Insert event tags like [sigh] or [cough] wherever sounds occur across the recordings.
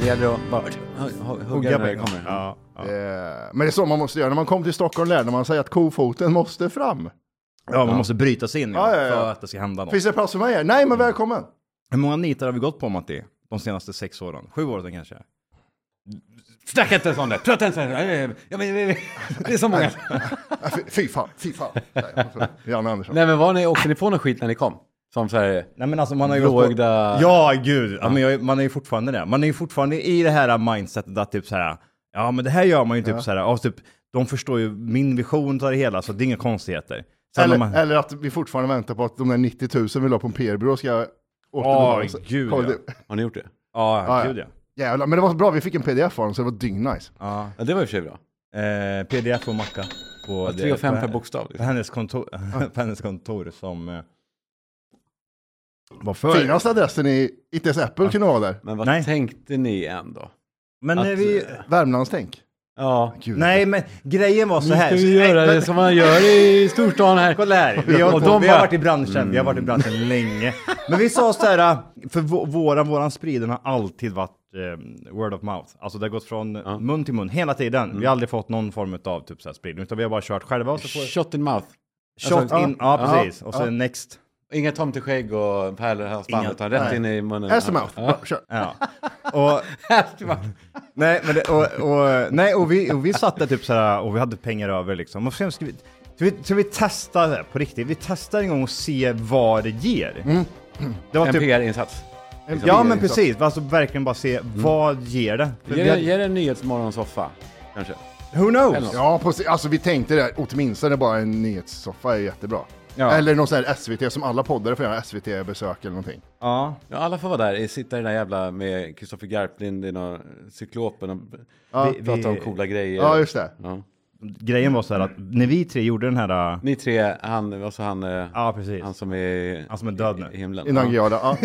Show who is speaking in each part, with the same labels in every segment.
Speaker 1: Det gäller att bara hu- hu- hugga när det kommer.
Speaker 2: Ja, ja.
Speaker 3: Eh, Men det är så man måste göra. När man kom till Stockholm lärde man sig att kofoten måste fram.
Speaker 1: ja, man måste bryta sig in ja,
Speaker 3: Ja, ja, ja.
Speaker 1: för att det ska hända något.
Speaker 3: Finns det plats för mig här? Nej, men välkommen!
Speaker 1: Hur många nitar har vi gått på Matti? De senaste sex åren? Sju åren kanske? Snacka inte ens om det! Prata inte ens om det! Det är så många.
Speaker 3: Äh, fy- Fy fan, fy fan. Nej, Janne
Speaker 4: [laughs]
Speaker 3: Andersson.
Speaker 4: Nej men var ni, åkte ni på någon skit när ni kom? Som så här,
Speaker 1: Nej men alltså man har ju gått på...
Speaker 4: Blåögda-
Speaker 1: Ja gud, ja, men jag, man är ju fortfarande där. Man är ju fortfarande i det här mindsetet att typ så här, ja men det här gör man ju typ så här, ja, typ, de förstår ju min vision av det hela så det är inga konstigheter. Sen
Speaker 3: Eller,
Speaker 1: om man...
Speaker 3: eller att vi fortfarande väntar på att de där 90 000 vi la på en PR-byrå ska återbetalas.
Speaker 1: Åh, gud,
Speaker 3: Kolla,
Speaker 1: ja.
Speaker 3: det-
Speaker 4: har ni gjort det?
Speaker 1: Ja,
Speaker 3: Ja, ja.
Speaker 1: gud ja.
Speaker 3: Jävlar, men det var så bra, vi fick en pdf av dem så det var dyngnice.
Speaker 1: ja.
Speaker 4: Ja det var i och för sig bra.
Speaker 1: Eh, pdf och macka. På
Speaker 4: Tre och fem
Speaker 1: på-
Speaker 4: per bokstav.
Speaker 1: På
Speaker 4: Liksom.
Speaker 1: hennes kontor, [laughs] på hennes kontor som... Eh, var för...
Speaker 3: Finaste adressen i, inte ens Apple kunde vara där.
Speaker 4: Men vad
Speaker 1: Nej.
Speaker 4: tänkte ni ändå?
Speaker 1: Men
Speaker 4: Att-
Speaker 1: eh, vi...
Speaker 3: Värmlandstänk.
Speaker 4: Ja.
Speaker 3: Gud.
Speaker 1: Nej men grejen var så här.
Speaker 4: Nu ska vi göra det som man gör i storstan här.
Speaker 1: Kolla här, vi har,
Speaker 4: Och de
Speaker 1: vi har Mm.
Speaker 4: bara-
Speaker 1: varit i branschen, vi har varit i branschen länge. Men vi sa så här, för vå- våran, våran spriden har alltid varit eh, word of mouth. Alltså det har gått från mun till mun hela tiden. Vi har aldrig fått någon form av typ så här spridning, utan vi har bara kört själva. Och så får,
Speaker 4: Shot in mouth.
Speaker 1: shot
Speaker 4: alltså,
Speaker 1: in, ja, precis. och sen next.
Speaker 4: Inga tomteskägg och pärlhalsband
Speaker 1: Inga-
Speaker 4: utan rätt in i munnen.
Speaker 3: Ass to mouth.
Speaker 4: Ja.
Speaker 3: Bara, kör.
Speaker 1: [laughs] Ja. Och,
Speaker 4: Ass to mouth.
Speaker 1: nej, men det, och, och, nej, och vi, och vi satt där typ så här och vi hade pengar över liksom. Och sen ska vi, så vi, så vi testar det här på riktigt. Vi testar en gång och se vad det ger. Det var
Speaker 4: En
Speaker 1: typ-
Speaker 4: PR-insats.
Speaker 1: Ja men precis, alltså verkligen bara se vad ger det? För vi
Speaker 4: Ge,
Speaker 1: hade-
Speaker 4: ge det en nyhetsmorgonsoffa, kanske.
Speaker 1: Who knows?
Speaker 4: något.
Speaker 3: Ja, precis. Alltså vi tänkte det, åtminstone bara en nyhetssoffa är jättebra.
Speaker 1: Ja.
Speaker 3: Eller någon sån här SVT, som alla poddare får göra, SVT-besök eller någonting.
Speaker 1: Ja.
Speaker 4: Ja, alla får vara där, sitta i den där jävla med Kristoffer Garplind och Cyklopen och
Speaker 1: Vi-
Speaker 4: prata om
Speaker 1: vi-
Speaker 4: coola grejer.
Speaker 3: Ja, just det.
Speaker 4: Ja.
Speaker 1: Grejen var så här att när vi tre gjorde den här... äh,
Speaker 4: Ni tre, han, alltså han, eh,
Speaker 1: Ja precis.
Speaker 4: han som är,
Speaker 1: Han som är död
Speaker 4: [laughs]
Speaker 1: nu.
Speaker 4: i himlen.
Speaker 3: Innan
Speaker 4: Ja.
Speaker 3: Giada. Ja.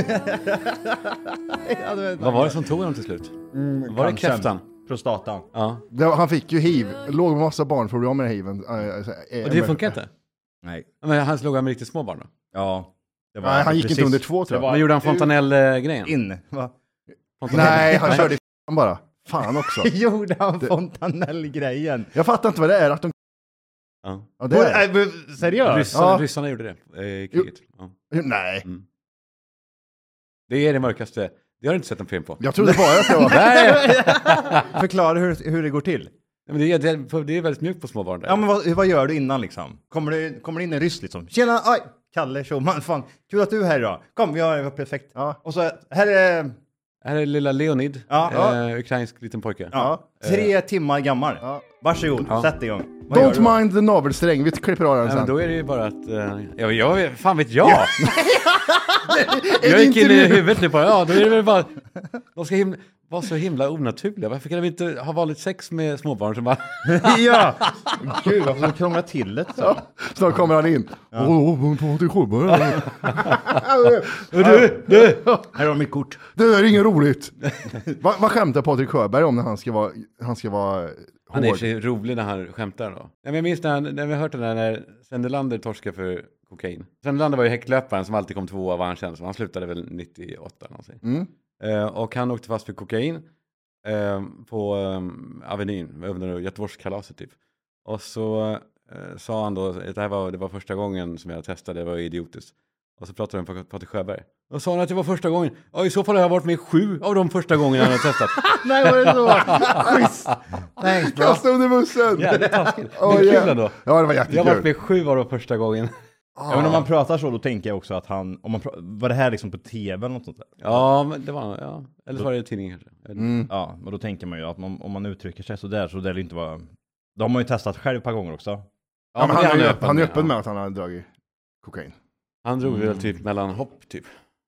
Speaker 4: Vad var det som tog honom till slut?
Speaker 1: Mm,
Speaker 4: var det
Speaker 1: Cancern.
Speaker 4: kräftan?
Speaker 1: Prostatan.
Speaker 4: Ja.
Speaker 3: Det var- Han fick ju hiv, låg med massa barnproblem med hiven. Eh, alltså, eh,
Speaker 4: Och det
Speaker 3: men-
Speaker 4: funkar inte?
Speaker 1: Nej.
Speaker 4: Men han slog han med riktigt små barn då?
Speaker 1: Ja. Det
Speaker 3: Nej, han gick
Speaker 1: precis
Speaker 3: inte under två tror jag.
Speaker 4: Men gjorde han fontanell-grejen?
Speaker 1: in. Va? [laughs]
Speaker 3: Nej, han körde i f***an bara. Fan också.
Speaker 1: gjorde han fontanellgrejen?
Speaker 3: Jag fattar inte vad det är att de...
Speaker 4: Ja.
Speaker 3: Ja, det är...
Speaker 1: Äh, men Seriöst?
Speaker 4: Ryssarna,
Speaker 3: Ja.
Speaker 4: ryssarna gjorde det eh, i kriget. Ja.
Speaker 3: Nej,
Speaker 4: Det är det mörkaste, det har du inte sett en film på.
Speaker 3: jag trodde bara att det var...
Speaker 4: Nej,
Speaker 1: [laughs] Förklara hur, hur det går till.
Speaker 4: men det, är, det, är, det är väldigt mjukt på små barn där.
Speaker 1: Ja men vad, vad gör du innan liksom? Kommer det, kommer det in en ryss liksom? Tjena, aj! Kalle Schulman, fan kul att du är här idag. Kom, vi har perfekt.
Speaker 3: Ja.
Speaker 1: Och så här är...
Speaker 4: Här är lilla Leonid,
Speaker 1: Ja,
Speaker 4: eh, ukrainsk liten pojke.
Speaker 1: Ja. Tre timmar gammal. Varsågod, sätt igång. Vad gör du då?
Speaker 3: Don't mind the navelsträng, vi klipper av den
Speaker 4: Ja, men
Speaker 3: sen.
Speaker 4: då är det ju bara att, eh, ja, jag, fan vet [laughs] jag! jag
Speaker 3: det
Speaker 4: gick in i
Speaker 3: intervju?
Speaker 4: huvudet nu bara, ja då är det väl bara, de ska himla, vara så himla onaturliga, varför kan de inte ha vanligt sex med småbarn som bara,
Speaker 1: ja! Gud, varför de krånglar till det så?
Speaker 3: Snart kommer han in. Åh, oh, hon pratar ju sjöbörd.
Speaker 1: Du, du! Här har mitt kort.
Speaker 3: Det där är inget roligt. Vad vad skämtar Patrik Sjöberg om när han ska vara, han ska vara hård?
Speaker 4: han är så rolig när han skämtar då. Nej, men jag minns när, han, när vi har hört den där när Sendelander torskade för kokain. Sendelander var ju häcklöparen som alltid kom tvåa var han känd som, han slutade väl 98 någonsin.
Speaker 3: Mm.
Speaker 4: Eh, och han åkte fast för kokain eh, på eh, Avenyn, under Göteborgskalaset typ. Och så eh, sa han då, det här var, det var första gången som jag testade, det var idiotiskt. Och så pratade han med Patrik Sjöberg. Då sa han att det var första gången. Ja, i så fall har jag varit med sju av de första gångerna han har testat.
Speaker 1: Nej, var det så? Schysst! Thanks bro.
Speaker 3: Kasta under bussen!
Speaker 4: Jävligt taskigt.
Speaker 3: Åh,
Speaker 4: Men kul
Speaker 3: jävlar.
Speaker 4: ändå.
Speaker 3: [laughs] Ja, det var
Speaker 4: Jag har varit
Speaker 3: jättekul.
Speaker 4: med sju av de första gången.
Speaker 1: Ja, men om man pratar så, då tänker jag också att han... Om man pra- var det här liksom på tv eller något sånt där?
Speaker 4: Ja, men det var, ja. Eller så var det i tidningen kanske. Jag vet inte.
Speaker 1: Ja, men då tänker man ju att man, om man uttrycker sig så där så det är inte vara... Då har man ju testat själv ett par gånger också.
Speaker 3: Ja, men han, är,
Speaker 4: ju
Speaker 3: öppen, han är öppen
Speaker 4: ja.
Speaker 3: med att han har dragit kokain.
Speaker 4: Han drog väl typ mellan hopp typ.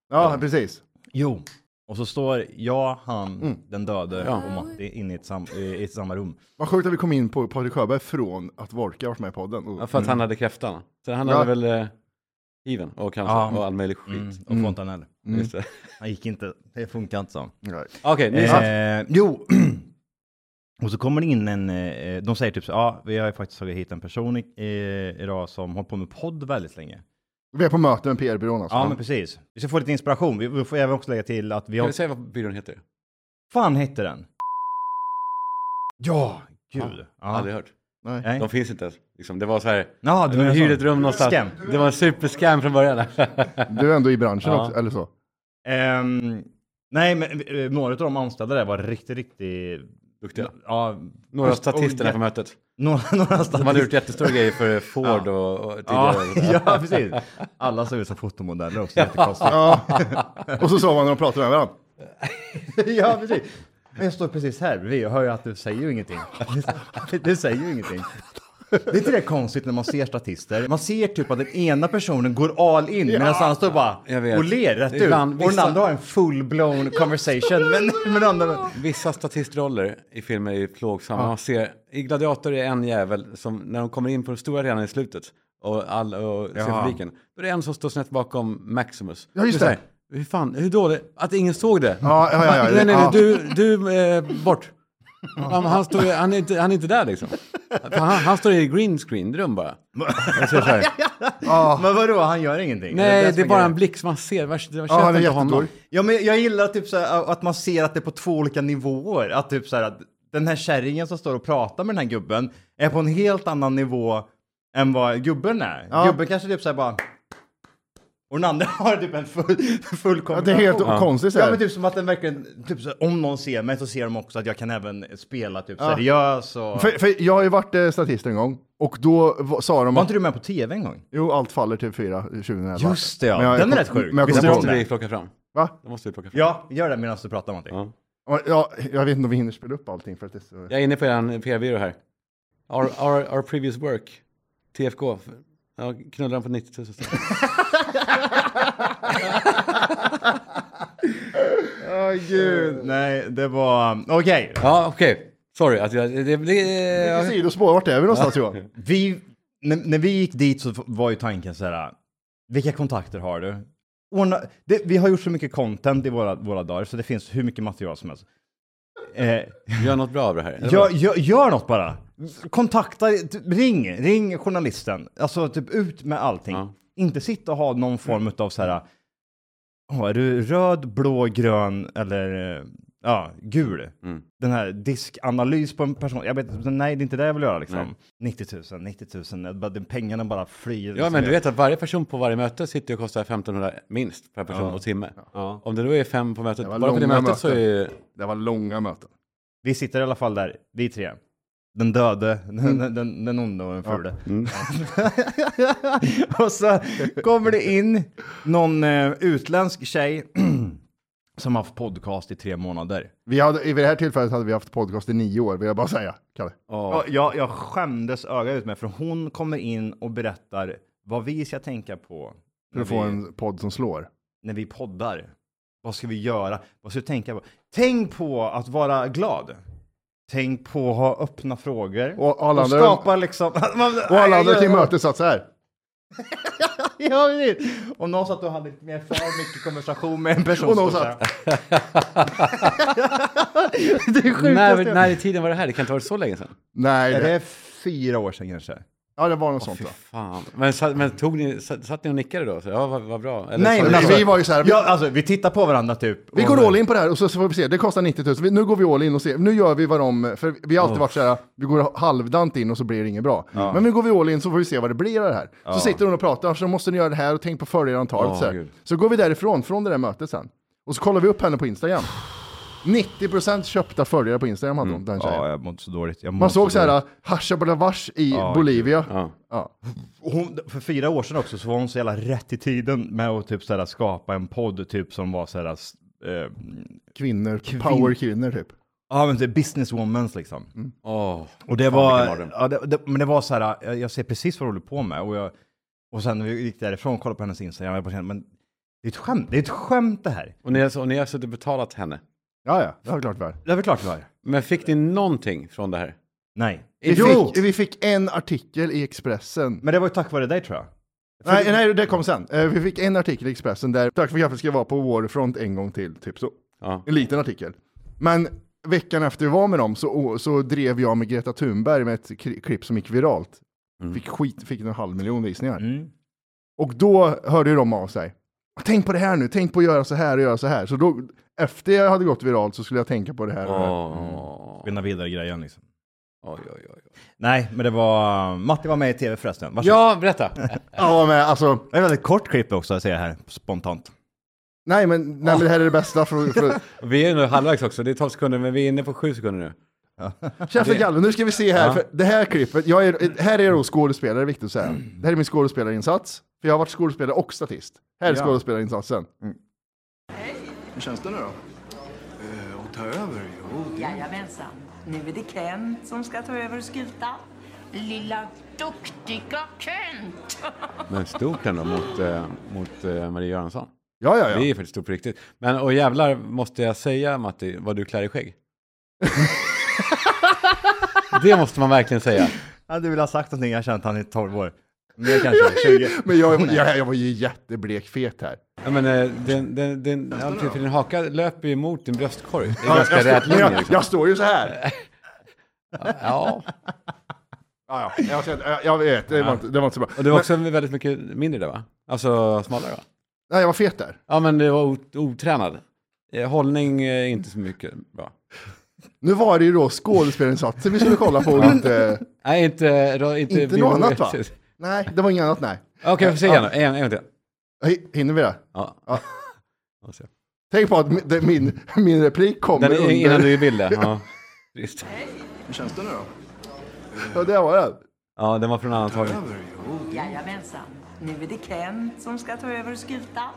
Speaker 3: Ja, precis.
Speaker 1: Jo. Mm. Och så står jag, han, den döde
Speaker 4: Ja.
Speaker 1: och Matti inne i ett, sam- i ett samma rum.
Speaker 3: Vad sjukt att vi kom in på Patrik Sjöberg från att Wolke har varit med i podden. Mm.
Speaker 4: Ja, för att han hade kräftan. Så han
Speaker 3: Ja.
Speaker 4: hade väl eh, hiven och cancer
Speaker 1: Ja. Mm.
Speaker 4: och all möjlig skit.
Speaker 1: Och fontanell.
Speaker 4: [laughs] Just det.
Speaker 1: Han gick inte, det funkar inte så.
Speaker 3: Nej.
Speaker 4: Okej, nu
Speaker 1: Eh, jo. [clears throat] Och så kommer det in en, eh, de säger typ så ja vi har ju faktiskt tagit hit en person i, eh, idag som hållit på med podd väldigt länge.
Speaker 3: Vi är på möte med PR-byrån alltså.
Speaker 1: Ja men precis. Vi ska få lite inspiration, vi, vi får även också lägga till att vi
Speaker 4: kan
Speaker 1: har...
Speaker 4: vi säga vad byrån heter?
Speaker 1: fan hette den? Ja, gud.
Speaker 4: Ja, Aldrig hört.
Speaker 3: Nej.
Speaker 1: Nej.
Speaker 4: De finns inte ens. Liksom, det var så här,
Speaker 1: Ja, det
Speaker 4: de
Speaker 1: en
Speaker 4: hyrde ett
Speaker 1: sån.
Speaker 4: rum någonstans.
Speaker 1: Scam.
Speaker 4: Det var en superscam från början.
Speaker 3: Du är ändå i branschen
Speaker 4: Ja.
Speaker 3: också, eller så?
Speaker 1: Ehm, nej, men eh, några av de anställda där var riktigt, riktigt...
Speaker 4: Duktiga.
Speaker 1: Ja,
Speaker 4: Några av
Speaker 1: och-
Speaker 4: statisterna
Speaker 1: och-
Speaker 4: på mötet.
Speaker 1: [laughs] Några, några
Speaker 4: De hade
Speaker 1: statister.
Speaker 4: gjort jättestora grejer för Ford och, och tidigare. [laughs]
Speaker 1: Ja, ja, precis. Alla såg ut som fotomodeller också, jättekonstigt.
Speaker 3: Ja. Och så sa man när de pratade med varandra.
Speaker 1: [laughs] ja, precis. Men jag står precis här bredvid och hör ju att du säger ju ingenting. [laughs] Du säger ju ingenting. Det är inte det konstigt när man ser statister? Man ser typ att den ena personen går all in medan han står bara
Speaker 4: jag vet.
Speaker 1: och ler rätt ut.
Speaker 4: Ibland,
Speaker 1: Och den
Speaker 4: vissa-
Speaker 1: andra har en full-blown conversation. Men, men den andra...
Speaker 4: Vissa statistroller i filmer är plågsamma. Man ser, I Gladiator är en jävel som när de kommer in på den stora arenan i slutet och, all, och ser
Speaker 1: Ja.
Speaker 4: publiken. Då är det en som står snett bakom Maximus.
Speaker 3: Ja, just
Speaker 4: Du säger,
Speaker 3: det.
Speaker 4: Hur fan, hur dåligt att ingen såg det.
Speaker 3: Ja, ja, ja. ja.
Speaker 4: nej, nej, nej,
Speaker 3: ja.
Speaker 4: du, du eh, bort. Han, han, står, ju- han, är inte, han är inte där liksom. Han, han står i green screen rum bara. Jag ser så här.
Speaker 1: Men vadå, han gör ingenting?
Speaker 4: Nej, det
Speaker 1: som
Speaker 4: är bara
Speaker 1: grejen.
Speaker 4: en blixt man ser. Vars, det
Speaker 3: Ja, han
Speaker 4: känns
Speaker 3: är
Speaker 4: inte honom.
Speaker 3: jättedålig.
Speaker 1: Ja, men jag gillar typ så här, att man ser att det är på två olika nivåer. Att typ så här, att den här kärringen som står och pratar med den här gubben är på en helt annan nivå än vad gubben är.
Speaker 3: Ja.
Speaker 1: Gubben kanske typ så här bara... Och den andra [laughs] har typ en full, full
Speaker 3: Ja, det är helt
Speaker 1: kombination.
Speaker 3: konstigt så
Speaker 1: Ja
Speaker 3: här.
Speaker 1: men typ som att den verkligen, typ så här, om någon ser mig så ser de också att jag kan även spela typ
Speaker 3: Ja.
Speaker 1: seriös
Speaker 4: typ-
Speaker 1: och...
Speaker 3: För, för jag har ju varit eh, statist en gång och då va- sa de
Speaker 1: Var
Speaker 3: att
Speaker 1: inte du med på tv en gång?
Speaker 3: jo, allt faller till 4 2011.
Speaker 1: Just det, ja.
Speaker 3: Men jag-
Speaker 1: Den är
Speaker 3: jag-
Speaker 1: rätt sjuk.
Speaker 3: Men jag
Speaker 1: Visst
Speaker 4: Det
Speaker 3: kommer inte
Speaker 1: är
Speaker 4: måste
Speaker 1: det?
Speaker 3: ihåg.
Speaker 4: vi plocka fram.
Speaker 3: Va?
Speaker 4: Det måste vi plocka fram.
Speaker 1: Ja, gör det medan du pratar om någonting.
Speaker 4: Ja.
Speaker 3: Ja, jag vet inte om vi hinner spela upp allting för att det är så...
Speaker 4: Jag är inne på er PR-byrå här. Our, our, our previous work, TFK. Ja, knullar han på 90 000 stycken.
Speaker 1: Åh gud. Nej, det var... Okej.
Speaker 4: Ja, okej. Sorry att jag... Det, det, det,
Speaker 3: Vilket sidospår, vart är vi någonstans Johan?
Speaker 1: Vi, när, när vi gick dit så f- var ju tanken så här, vilka kontakter har du? Ordna, det, vi har gjort så mycket content i våra, våra dagar så det finns hur mycket material som helst. Eh,
Speaker 4: gör något bra av det här. Eller
Speaker 1: gör,
Speaker 4: vad?
Speaker 1: gör, gör något bara. Kontakta, t- ring, ring journalisten. Alltså typ ut med allting.
Speaker 4: Ja. Mm.
Speaker 1: Inte sitta och ha någon form av så här, "Åh, är du röd, blå, grön eller eh, ja, gul?
Speaker 4: Mm.
Speaker 1: den här diskanalys på en person. Jag vet nej det är inte det jag vill göra liksom.
Speaker 4: Nej.
Speaker 1: 90 000, 90 000, bara- den pengarna bara flyr. Liksom,
Speaker 4: Ja, men du vet att varje person på varje möte sitter och kostar 1500 minst per person och timme. Om det då är fem på mötet,
Speaker 3: Det var
Speaker 4: bara på det
Speaker 3: långa
Speaker 4: mötet så är
Speaker 3: möten.
Speaker 4: ju...
Speaker 3: Det var långa möten.
Speaker 1: Vi sitter i alla fall där, vi tre. Mm. Den döde, den, den, den onde och den fule.
Speaker 3: Mm.
Speaker 1: [laughs] och så kommer det in någon eh, utländsk tjej [clears throat] som har haft podcast i tre månader.
Speaker 3: Vi hade, I det här tillfället hade vi haft podcast i nio år, vill jag bara säga, Kalle.
Speaker 1: Ja, Jag, jag skämdes öga ut med för hon kommer in och berättar vad vi ska tänka på.
Speaker 3: För
Speaker 1: när
Speaker 3: att få
Speaker 1: vi-
Speaker 3: en podd som slår.
Speaker 1: när vi poddar. Vad ska vi göra? Vad ska vi tänka på? Tänk på att vara glad. Tänk på att ha öppna frågor.
Speaker 3: Och alla andra-
Speaker 1: skapa liksom... [laughs] Man,
Speaker 3: Och alla andra till mötet satt så här.
Speaker 1: [laughs]
Speaker 4: [laughs]
Speaker 1: Ja, precis. Och någon satt och hade lite mer för mycket konversation [laughs] med en person.
Speaker 3: Och någon
Speaker 1: som-
Speaker 3: satt.
Speaker 1: det är sjukt.
Speaker 4: När, när i tiden var det här? Det kan inte ha varit så länge sedan.
Speaker 3: Nej,
Speaker 1: Är
Speaker 3: det,
Speaker 1: det fyra år sedan kanske?
Speaker 3: ja, det var något sånt.
Speaker 4: Fy
Speaker 3: Då.
Speaker 4: fan. Men, satt, men tog ni, satt, satt ni och nickade då? Så, ja, vad, vad bra. Eller
Speaker 1: Nej,
Speaker 4: så-
Speaker 1: men alltså,
Speaker 3: vi var ju så här-
Speaker 1: Ja, alltså, vi tittar på varandra typ.
Speaker 3: Vi går all in på det här och så så får vi se, det kostar 90 000. Vi- Nu går vi all in och ser, nu gör vi vad de, för vi har alltid varit så här, vi går halvdant in och så blir det inget bra. Men nu går vi all in så får vi se vad det blir av det här. Så sitter hon och pratar, så måste ni göra det här och tänk på
Speaker 4: Ja,
Speaker 3: följarantalet. så, här.
Speaker 4: gud.
Speaker 3: så går vi därifrån, från det där mötet sen. Och så kollar vi upp henne på Instagram. 90% köpta följare på Instagram hade hon, den tjejen.
Speaker 1: Ja, jag mår inte så dåligt. Jag mår
Speaker 3: Man
Speaker 1: inte
Speaker 3: såg så
Speaker 1: dåligt.
Speaker 3: här, Hasha Balavash i Bolivia.
Speaker 4: Ja.
Speaker 3: Ja.
Speaker 1: hon, för fyra år sedan också så var hon så jävla rätt i tiden med att typ såhär skapa en podd typ som var såhär, eh,
Speaker 3: Kvinnor,
Speaker 1: Kvin-
Speaker 3: power kvinnor typ.
Speaker 1: ja men typ businesswomans liksom.
Speaker 4: Åh.
Speaker 1: Och det
Speaker 4: Fan, vilken
Speaker 1: var,
Speaker 4: mardröm.
Speaker 1: ja, det, det, men det var såhär, jag, jag ser precis vad du håller på med och jag, och sen när vi gick därifrån och kollade på hennes Instagram, jag bara kände, men det är ett skämt, det är ett skämt det här.
Speaker 4: Och ni har, och ni har suttit och betalat henne.
Speaker 3: Ja, ja, det var klart väl.
Speaker 1: Det är väl klart det var.
Speaker 4: Men fick ni någonting från det här?
Speaker 1: Nej.
Speaker 3: Vi
Speaker 1: Jo!
Speaker 3: fick, vi fick en artikel i Expressen.
Speaker 1: Men det var ju tack vare dig tror jag.
Speaker 3: Nej, nej, det kom sen. Eh, Vi fick en artikel i Expressen där Tack för kaffet ska vara på Warfront en gång till, typ så.
Speaker 4: Ja.
Speaker 3: En liten artikel. Men veckan efter vi var med dem så, så drev jag med Greta Thunberg med ett kri- klipp som gick viralt. Fick skit, fick en halv miljon visningar.
Speaker 1: Mm.
Speaker 3: Och då hörde ju de av sig. Tänk på det här nu, tänk på att göra så här och göra så här. Så då, efter jag hade gått viralt så skulle jag tänka på det här. och det här.
Speaker 4: Åh.
Speaker 1: Spinna vidare grejen liksom.
Speaker 4: Oj, oj, oj. oj.
Speaker 1: Nej, men det var... Matti var med i tv förresten. Varsågod.
Speaker 4: Ja, berätta.
Speaker 3: Ja, men alltså,
Speaker 1: Det är ett väldigt kort klipp också, jag ser här spontant.
Speaker 3: nej men, nej, men det här är det bästa. För, för,
Speaker 4: Vi är nu halvvägs också, det är 12 sekunder, men vi är inne på 7 sekunder nu.
Speaker 3: Käften Galve, nu ska vi se här, för det här klippet, jag är, här är jag då skådespelare, det är viktigt att säga. Det här är min skådespelarinsats, för jag har varit skådespelare och statist. Här är skådespelarinsatsen.
Speaker 2: Hur känns det nu då? Eh, att ta över? Jo, det...
Speaker 5: Jajamensan. Nu är det Ken som ska ta över skutan. Lilla duktiga Kent.
Speaker 4: Men stort ändå mot, eh, mot eh, Marie Göransson.
Speaker 3: Ja, ja,
Speaker 4: Det
Speaker 3: ja.
Speaker 4: är faktiskt stort på riktigt. Men och jävlar måste jag säga Matti, vad du klär i skägg. [laughs] det måste man verkligen säga.
Speaker 1: Ja, du vill ha sagt någonting, jag har känt han i 12 år. Mer kanske, [laughs] 20.
Speaker 3: Men jag, jag, jag var ju jätteblek fet här.
Speaker 4: Ja, men, eh, den, den, den, ja, för din haka löper ju mot din bröstkorg. Det är
Speaker 3: Ja,
Speaker 4: ganska
Speaker 3: jag,
Speaker 4: rät
Speaker 3: står- men
Speaker 4: linje.
Speaker 3: jag,
Speaker 4: Liksom.
Speaker 3: jag står ju så här.
Speaker 4: Ja.
Speaker 3: Ja, ja, jag, ser- jag, jag vet, det var, inte, det var inte så bra.
Speaker 4: Och du var också väldigt mycket mindre där va? Alltså smalare va?
Speaker 3: Nej, jag var fet där.
Speaker 4: Ja, men du var ot- otränad. Eh, Hållning eh, inte så mycket bra.
Speaker 3: Nu var det ju då skådespelarinsatsen vi skulle kolla på och inte,
Speaker 4: Nej, inte... ra- Inte,
Speaker 3: inte något
Speaker 4: [laughs]
Speaker 3: annat va?
Speaker 4: Okej,
Speaker 3: Nej, det var inget annat nej.
Speaker 4: vi får se igen. då. En, en gång till.
Speaker 3: Hej, Hinner vi det?
Speaker 4: Ja.
Speaker 3: Ja.
Speaker 4: Får se.
Speaker 3: Tänk på att min- det- min, min replik kommer
Speaker 4: Den, är- innan
Speaker 3: under.
Speaker 4: du är i bild där.
Speaker 3: [laughs]
Speaker 4: ja. Trist.
Speaker 2: Hur känns det nu då?
Speaker 3: Ja, det var den.
Speaker 4: Ja, den var från en annan
Speaker 2: Ta
Speaker 4: tagning.
Speaker 2: över? Jo, det...
Speaker 5: Jajamensan. Nu är det Ken som ska ta över skutan.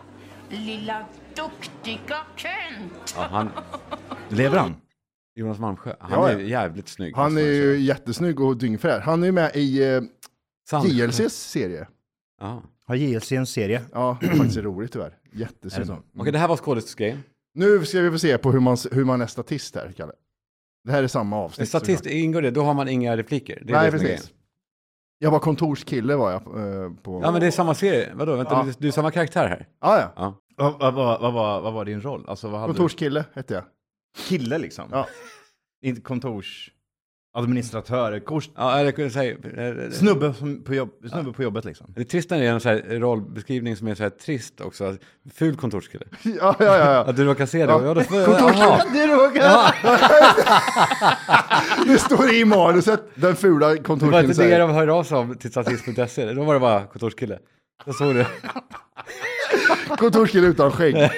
Speaker 5: Lilla duktiga Kent.
Speaker 4: Ja, han,
Speaker 1: Lever han?
Speaker 4: Jonas Malmsjö, han
Speaker 3: Ja,
Speaker 4: är
Speaker 3: ja.
Speaker 4: jävligt snygg.
Speaker 3: Han är
Speaker 4: måste man
Speaker 3: ju
Speaker 4: säga.
Speaker 3: jättesnygg och dyngfräsch. Han är ju med i eh,
Speaker 4: Sand.
Speaker 3: JLCs serie.
Speaker 4: Ja.
Speaker 1: Har JLC en serie?
Speaker 4: [clears throat]
Speaker 3: Ja, det är faktiskt roligt tyvärr.
Speaker 1: Är det
Speaker 3: Jättesynd.
Speaker 1: så?
Speaker 4: Okej, det här var skådisgrejen.
Speaker 3: Nu ska vi få se på hur man, hur man är statist här, Kalle. Det här är samma avsnitt.
Speaker 4: Statist, ingår det, då har man inga repliker. Det är
Speaker 3: Nej,
Speaker 4: det som är
Speaker 3: precis.
Speaker 4: grejen.
Speaker 3: Jag var kontorskille var jag eh, på...
Speaker 4: Ja, men det är samma serie. Vadå, vänta,
Speaker 3: Ja.
Speaker 4: du, du är samma karaktär här.
Speaker 3: Ah, ja.
Speaker 1: Vad, vad, vad, vad, var- vad var din roll? Alltså vad hade
Speaker 3: Kontorskille hette jag. [laughs]
Speaker 1: du? Kille liksom?
Speaker 3: Ja.
Speaker 1: Inte kontors... Administratör, kors...
Speaker 4: Ja, eller kunde säga... eh,
Speaker 1: Snubbe, som- på, jobb, snubbe på jobbet liksom.
Speaker 4: Det trista är en sån här rollbeskrivning som är så här trist också. Att Ful kontorskille.
Speaker 3: Ja, ja, ja. ja.
Speaker 4: Att du råkar se det.
Speaker 3: Ja.
Speaker 4: Ja. då får jag,
Speaker 3: Kontorskille,
Speaker 4: Jaha.
Speaker 3: det råkar... [laughs] det står i manuset, den fula
Speaker 4: Det var
Speaker 3: kontorskillen
Speaker 4: inte det
Speaker 3: säger.
Speaker 4: de hörde av sig om till statist.se. Då var det bara kontorskille. Då såg du.
Speaker 3: Kontorskille utan
Speaker 1: [laughs]
Speaker 3: skägg.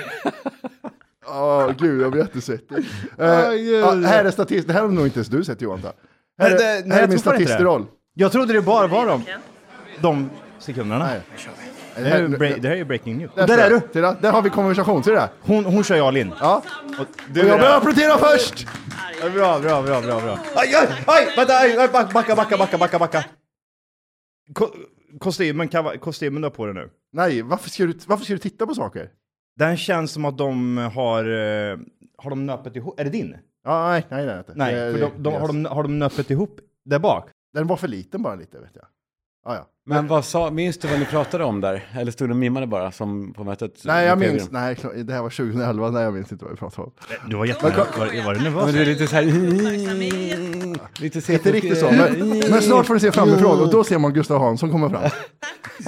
Speaker 3: Åh, gud, jag blir jättesvettig. Eh, ja, här är statist, det här har nog inte ens du sett Johan. va? Här,
Speaker 1: Nej, det-
Speaker 3: är-
Speaker 1: nej,
Speaker 3: här är
Speaker 1: jag
Speaker 3: min
Speaker 1: tror fan inte det.
Speaker 3: statistroll.
Speaker 1: Jag trodde det bara var de, de sekunderna.
Speaker 3: Nej.
Speaker 1: Det, här är ju bre- det här är ju breaking news.
Speaker 3: Där,
Speaker 1: Där är du!
Speaker 3: Titta, där har vi konversation, ser du det?
Speaker 1: Hon, hon kör jag Linn.
Speaker 3: Ja.
Speaker 1: Och
Speaker 3: Och
Speaker 1: du
Speaker 3: jag
Speaker 1: är
Speaker 3: börjar
Speaker 1: där.
Speaker 3: applådera först!
Speaker 1: Ja, Bra, bra, bra, bra, bra. Aj, aj, aj! Vänta, aj, aj, back- backa, backa, backa, backa, backa. Ko- Kostymen, kava- kostymen du har på dig nu.
Speaker 3: Nej, varför ska, du, varför ska du titta på saker?
Speaker 1: Den känns som att de har... eh, Har de nöpet ihop? Är det din?
Speaker 3: Ja, nej, nej, nej.
Speaker 1: Nej,
Speaker 3: Det-
Speaker 1: för de, de, har, de, har de nöpet ihop där bak?
Speaker 3: Den var för liten bara lite, vet jag. Ja, ja.
Speaker 4: Men vad sa, minns du vad ni pratade om där? Eller stod du och mimade bara som på mötet?
Speaker 3: Nej, jag
Speaker 4: På
Speaker 3: minns.
Speaker 4: tv-n?
Speaker 3: Nej, klar- det här var 2011. Nej, jag minns inte vad vi pratade om.
Speaker 1: Du var jättenervös. Var, var du
Speaker 4: Men
Speaker 1: nervös?
Speaker 4: du är lite så här... Lite sent.
Speaker 3: Inte riktigt så, men, men snart får du se framifrån och då ser man Gustav Hansson komma fram.